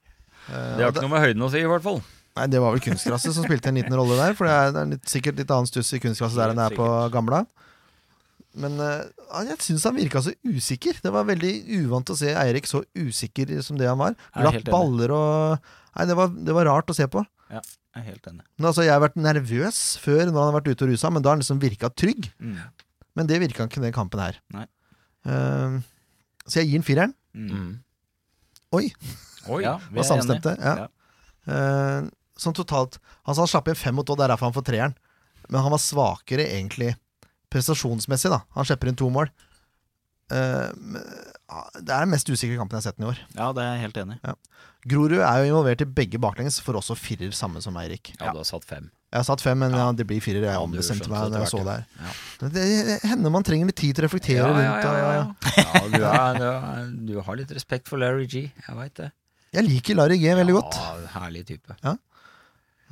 Det har ikke noe med høyden å si, i hvert fall.
Nei, det var vel kunstgresset som spilte en liten rolle der. For det er, det er litt, sikkert litt annen stuss i kunstgresset der enn det er på gamla. Men eh, han- jeg syns han virka så usikker. Det var veldig uvant å se Eirik så usikker som det han var.
Jeg er helt
Glapp
enig.
baller og Nei, det var, det var rart å se på.
Jeg er helt enig.
Men altså, Jeg har vært nervøs før når han har vært ute og rusa, men da har han liksom virka trygg.
Mm.
Men det virka han ikke i den kampen her.
Nei.
Eh, så jeg gir han fireren.
Mm.
Oi,
Oi.
Ja, vi
var
er enige.
samstemte. Ja.
Ja.
Eh, sånn totalt Han sa han slapp inn fem mot Odd, det er derfor han får treeren. Men han var svakere, egentlig, prestasjonsmessig. da Han slipper inn to mål. Eh, men, ah, det er den mest usikre kampen jeg har sett den i år.
Ja, det er jeg helt enig i.
Grorud er jo involvert i begge baklengs, for også firer, samme som Eirik.
Ja, du har satt fem.
Jeg har satt fem, men ja, det blir firer. Jeg
Ja, du
ombestemte
skjønte
meg da jeg så
det
det
etter
her. Det, det hender man trenger litt tid til å reflektere rundt. og-
ja. ja du, er, du, er, du har litt respekt for Larry G, jeg veit det.
Jeg liker Larry G veldig godt.
Ja, herlig type.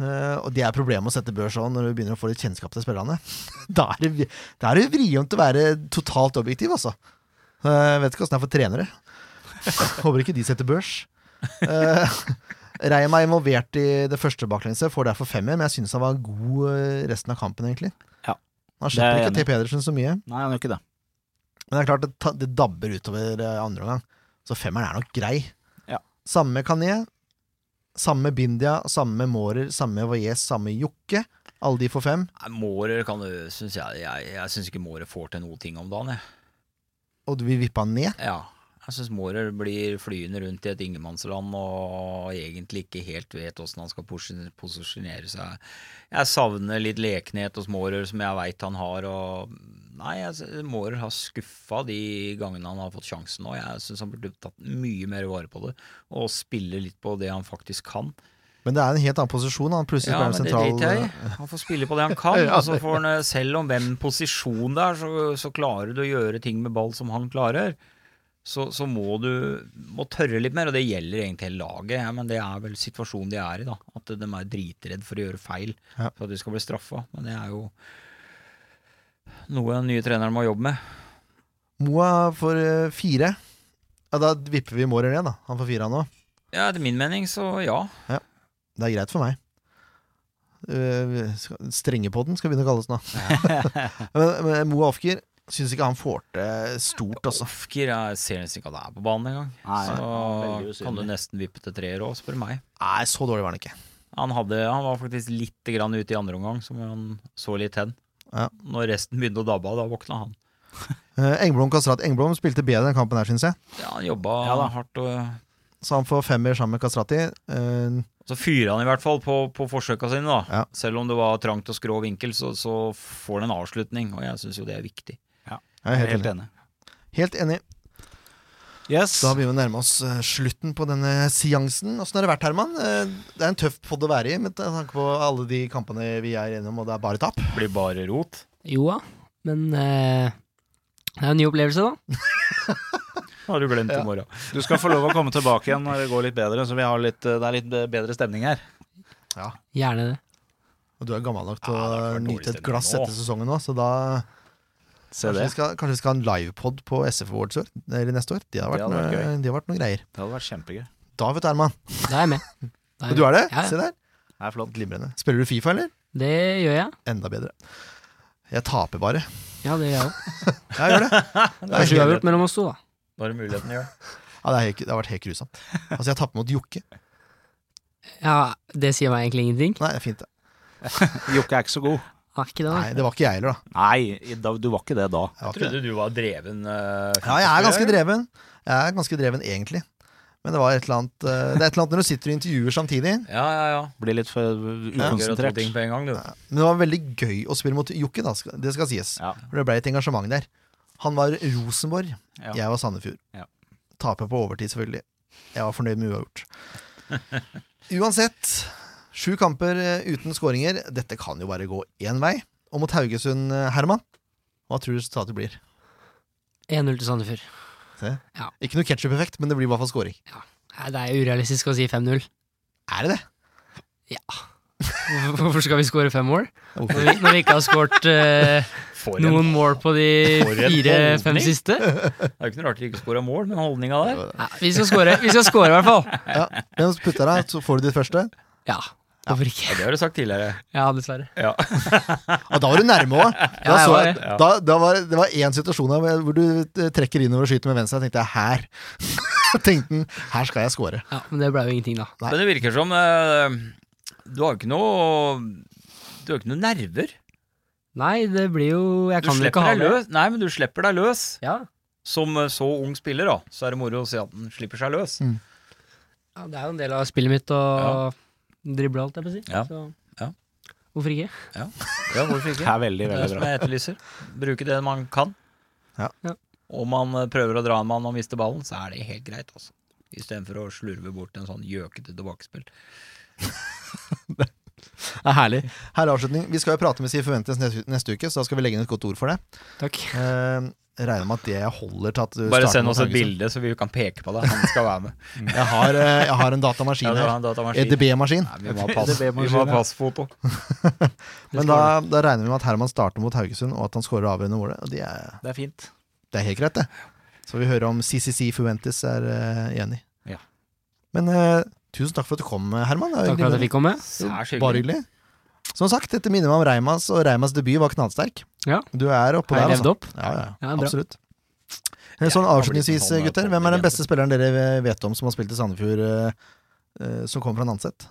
Eh, og det er problemet med å sette børs òg, når du begynner å få litt kjennskap til spillerne. da er det, vi- da er det vrient å være totalt objektiv, altså. Eh, Jeg vet ikke åssen det er for trenere. Håper ikke de setter børs. Uh, Reim er involvert i det første baklengset, får derfor femmer, men jeg syns han var god eh, resten av kampen, egentlig.
Ja.
Han
Det er
slipper
jeg
ikke til Pedersen så mye.
Nei, han gjør ikke det.
Men det er klart det, ta- det dabber utover eh, andre omgang. Så femmeren er nok grei.
Ja.
Samme Kané, samme Bindia, samme Mårer, samme Vajez, samme Jokke. Alle de får fem.
Nei, Mårer kan du synes jeg, jeg Jeg syns ikke Mårer får til noe ting om dagen, jeg.
Og du vil vippe han ned.
Ja. Jeg syns Mårer blir flyende rundt i et ingenmannsland og egentlig ikke helt vet åssen han skal posi- posisjonere seg. Jeg savner litt lekenhet hos Mårer, som jeg veit han har, og Nei, jeg sy- Mårer har skuffa de gangene han har fått sjansen nå. Jeg syns han burde tatt mye mer vare på det, og spille litt på det han faktisk kan.
Men det er en helt annen posisjon. Han plutselig
Ja,
spiller
men det
sentral
driter jeg i. Han får spille på det han kan. og så får han, eh, selv om hvem posisjon det er, så, så klarer du å gjøre ting med ball som han klarer. Så, så må du må tørre litt mer, og det gjelder egentlig hele laget. Ja, men det er vel situasjonen de er i, da. At de er dritredd for å gjøre feil,
Ja.
for at de skal bli straffa. Men det er jo noe den nye treneren må jobbe med.
Moa får eh, fire. Ja, da vipper vi Mårer ned, da. Han får fire, han òg.
Ja, Etter min mening, så ja.
Det er greit for meg. Uh, Strengepodden skal begynne å kalles nå. men, men Moa Ofker syns ikke han får til stort, altså.
Ofker jeg ser nesten ikke at han er på banen engang.
Nei, veldig
Så
usynlig.
kan du nesten vippe til treer òg, spør du meg.
Nei, så dårlig var han ikke.
Han, hadde, han var faktisk litt grann ute i andre omgang, som han så litt hen.
Ja.
Når resten begynte å dabbe av, da våkna han.
Eh, Engblom Kastrat Engblom spilte bedre den kampen her, syns jeg.
Ja, Han jobba
Ja da.
hardt. Og,
Så han får femmer sammen med Kastrati. Eh,
så fyra han i hvert fall på, på forsøka sine, da.
Ja.
Selv om det var trangt og skrå vinkel, så, så får han en avslutning, og jeg syns jo det er viktig.
jeg er helt, enig.
enig.
helt enig.
Yes.
Da begynner vi å nærme oss eh, slutten på denne seansen. Åssen har det vært, Herman? Eh, det er en tøff podd å være i, med tanke på alle de kampene vi er innom, og det er bare tap.
Blir bare rot.
Jo da, men eh, det er jo en ny opplevelse, da.
Har du glemt i morgen.
Du skal få lov å komme tilbake igjen når det går litt bedre, så vi har litt, eh, det er litt bedre stemning her.
Gjerne det.
Og du er gammel nok til
Ja, det
å
har vært dårlig
nyte et
stemning
glass
nå.
etter sesongen nå, så da
Se
kanskje
det.
vi, skal, kanskje vi skal ha en livepod på SF Awards i år, eller neste år. Det har
Det
vært,
hadde vært
noe, det har vært noen greier.
Det hadde vært kjempegøy.
Da, vet du, Herman.
Da er jeg med.
Du
Da jeg med.
er det?
Ja, ja.
Se der.
Det er flott.
Glimrende. Spiller du Fifa, eller?
Det gjør jeg.
Enda bedre. Jeg taper bare.
Ja, det gjør jeg òg.
Jeg gjør det.
Det er uavgjort mellom oss to, da.
Da er det muligheten, ja.
Ja, det, er helt, det har vært helt grusomt. Altså, jeg tapper mot Jokke.
Ja, det sier meg egentlig ingenting.
Nei, det er fint. det.
Jokke er ikke så god.
Er ikke det,
Nei, det var ikke jeg heller, da.
Nei, i- da, du var ikke det da.
Jeg var ikke det.
Trodde du var dreven. eh,
Ja, jeg er ganske
fotballspiller.
dreven. Jeg er ganske dreven, egentlig. Men det var et eller annet eh, Det er et eller annet når du sitter og intervjuer samtidig.
Ja, ja, ja.
Blir litt for
Gjør to
ukonsentrert.
ting på en gang, du.
Men det var veldig gøy å spille mot Jokke, da. skal- Det skal sies.
Ja.
For det ble et engasjement der. Han var Rosenborg,
Ja.
jeg var Sandefjord.
Ja.
Taper på overtid, selvfølgelig. Jeg var fornøyd med uavgjort. Uansett, sju kamper eh, uten skåringer. Dette kan jo bare gå én vei. Og mot Haugesund, eh, Herman, hva tror du resultatet blir?
da. 1-0 til Sandefjord.
Ikke noe ketsjup-effekt, men det blir i hvert fall skåring.
Nei, det er jo urealistisk å si 5-0.
Er det det?
Hvorfor- Hvorfor skal vi score fem mål?
Hvorfor?
Når vi, når vi ikke har skåret eh,
For en,
noen mål på de
For en
fire-fem
holdning.
siste.
det er jo ikke noe rart de ikke skåra mål, men holdninga der
Nei, vi skal score, vi skal score i hvert fall.
Ja. Men putter deg, så får du ditt første.
Ja, hvorfor ikke?
ja, Det har du sagt tidligere.
Ja, dessverre.
Ja.
Ja, da var du nærme òg. Da
Ja, jeg
så
var
jeg-
det.
da- da var- det var én situasjon her hvor du eh, trekker innover og skyter med venstre. Jeg tenkte jeg, her tenkte han, her skal jeg score.
Ja, Men det ble jo ingenting, da.
Nei.
Men det virker som eh, Du har jo ikke noe Du har jo ikke noe nerver.
Nei, det blir jo Jeg
Du
kan jo ikke
slipper
ha
deg
det.
løs. Nei, men du slipper deg løs.
Ja.
Som eh, så ung spiller, da, så er det moro å se at den slipper seg løs.
ja, det er jo en del av spillet mitt å
Ja.
drible alt, jeg vil si.
Ja.
Så.
Ja.
Hvorfor ikke?
Ja, hvorfor
Det er veldig,
Det
veldig
er som
bra.
jeg etterlyser. Bruke det man kan.
Ja.
Ja.
Om man eh, prøver å dra en mann og mister ballen, så er det helt greit, altså. Istedenfor å slurve bort en sånn gjøkete tilbakespill.
Det er herlig. Her er avslutning. Vi skal jo prate med Si Forventes neste, neste uke, så da skal vi legge inn et godt ord for det.
Takk.
Eh, regner med at det holder til at du
Bare
starter
send
mot
oss et
Haugesund.
bilde, så vi kan peke på det. Han skal være med.
Jeg har, eh, jeg har en datamaskin
Ja, det var
her. Eh,
en datamaskin.
EDB-maskin.
Nei, vi må ha pass. Vi må ha passfoto.
Men da, da regner vi med at Herman starter mot Haugesund, og at han skårer avgjørende målet. Og det er,
Det er fint.
det er helt greit, det. Så vi hører om CCC Fuentes er eh, enig.
Ja.
Men eh, tusen takk for at du kom, eh, Herman. Det er
Takk for at jeg fikk komme.
Særs hyggelig.
Bare hyggelig. Som sagt, dette minner meg om Reimas, og Reimas debut var knallsterk.
Ja.
Du er oppå
Har
der, altså.
jeg levd opp?
Ja, ja,
Ja, bra.
absolutt. Eh, Sånn
Ja,
avslutningsvis,
han er jo
gutter. Hvem er den beste spilleren dere vet om som har spilt i Sandefjord, eh, eh, som kommer fra Nanset?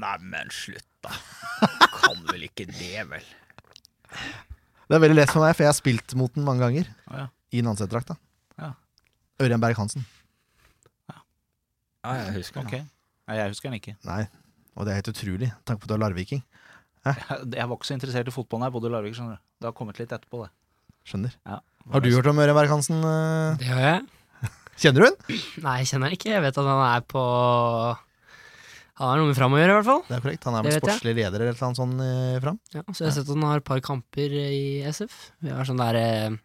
Nei, men slutt, da. Kan vel ikke det, vel?
Det er veldig lett for meg, for jeg har spilt mot den mange ganger.
Å, ja.
I Nanset-drakta.
Ja.
Ørjan Berg Hansen.
Ja, jeg husker
Ok. Nei, jeg husker den ikke.
Nei, og det er helt utrolig, med tanke på at du er larviking.
Jeg, jeg var ikke så interessert i fotballen da jeg bodde i Larvik. skjønner du. Det har kommet litt etterpå, det.
Skjønner.
Ja.
Har du hørt om Ørjan Berg Hansen? eh?
Det gjør jeg.
Kjenner du hun?
Nei, jeg kjenner han ikke. Jeg vet at han er på Han har noe med fram å gjøre, i hvert fall.
Det er korrekt. Han er vel
Det vet jeg.
sportslig leder eller et eller annet sånt eh, fram.
Ja, så jeg har sett at han har et par kamper i SF. Vi har sånn der eh,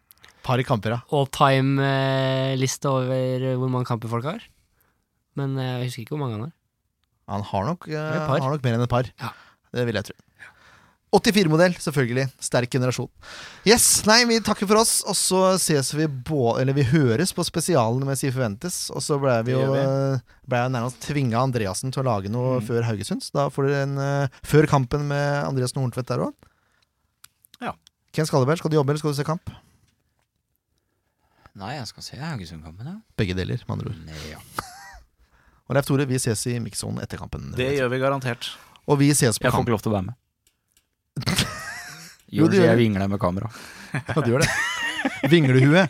Par i kamper, ja.
all time-liste over hvor mange kamper folk har. Men eh, jeg husker ikke hvor mange han har.
Han har nok, eh,
er et par.
han har nok mer enn et par.
Ja.
Det vil jeg tro. 84-modell, selvfølgelig. Sterk generasjon. Yes, nei, Vi takker for oss, og så ses vi bå- Eller vi høres på spesialen med Si forventes. Og så ble vi
Det
jo
gjør vi.
eh, ble jeg nærmest tvinga Andreassen til å lage
Mm.
noe før Haugesunds. Da får dere en eh, Før kampen med Andreassen og Horntvedt der òg.
Ja.
Ken Skalleberg, skal du jobbe eller skal du se kamp?
Nei, jeg skal se Haugesund-kampen, ja.
Begge deler, med andre ord.
Nei, ja.
Og Leif Tore, vi ses i Mikson etter kampen.
Det gjør vi garantert.
Og vi ses på
Jeg får
kamp.
ikke lov til å være med.
Jo,
Gjør
det
det,
gjør
jeg
du.
vingler med kamera.
Ja, du gjør det. Vinglehue.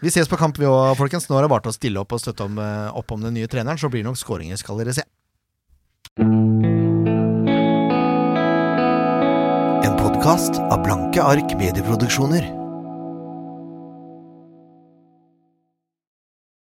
Vi ses på kamp, vi òg, folkens. Nå har det vart å stille opp og støtte om, eh, opp om den nye treneren, så blir det nok skåringer, skal dere se.
En podkast av Blanke ark medieproduksjoner.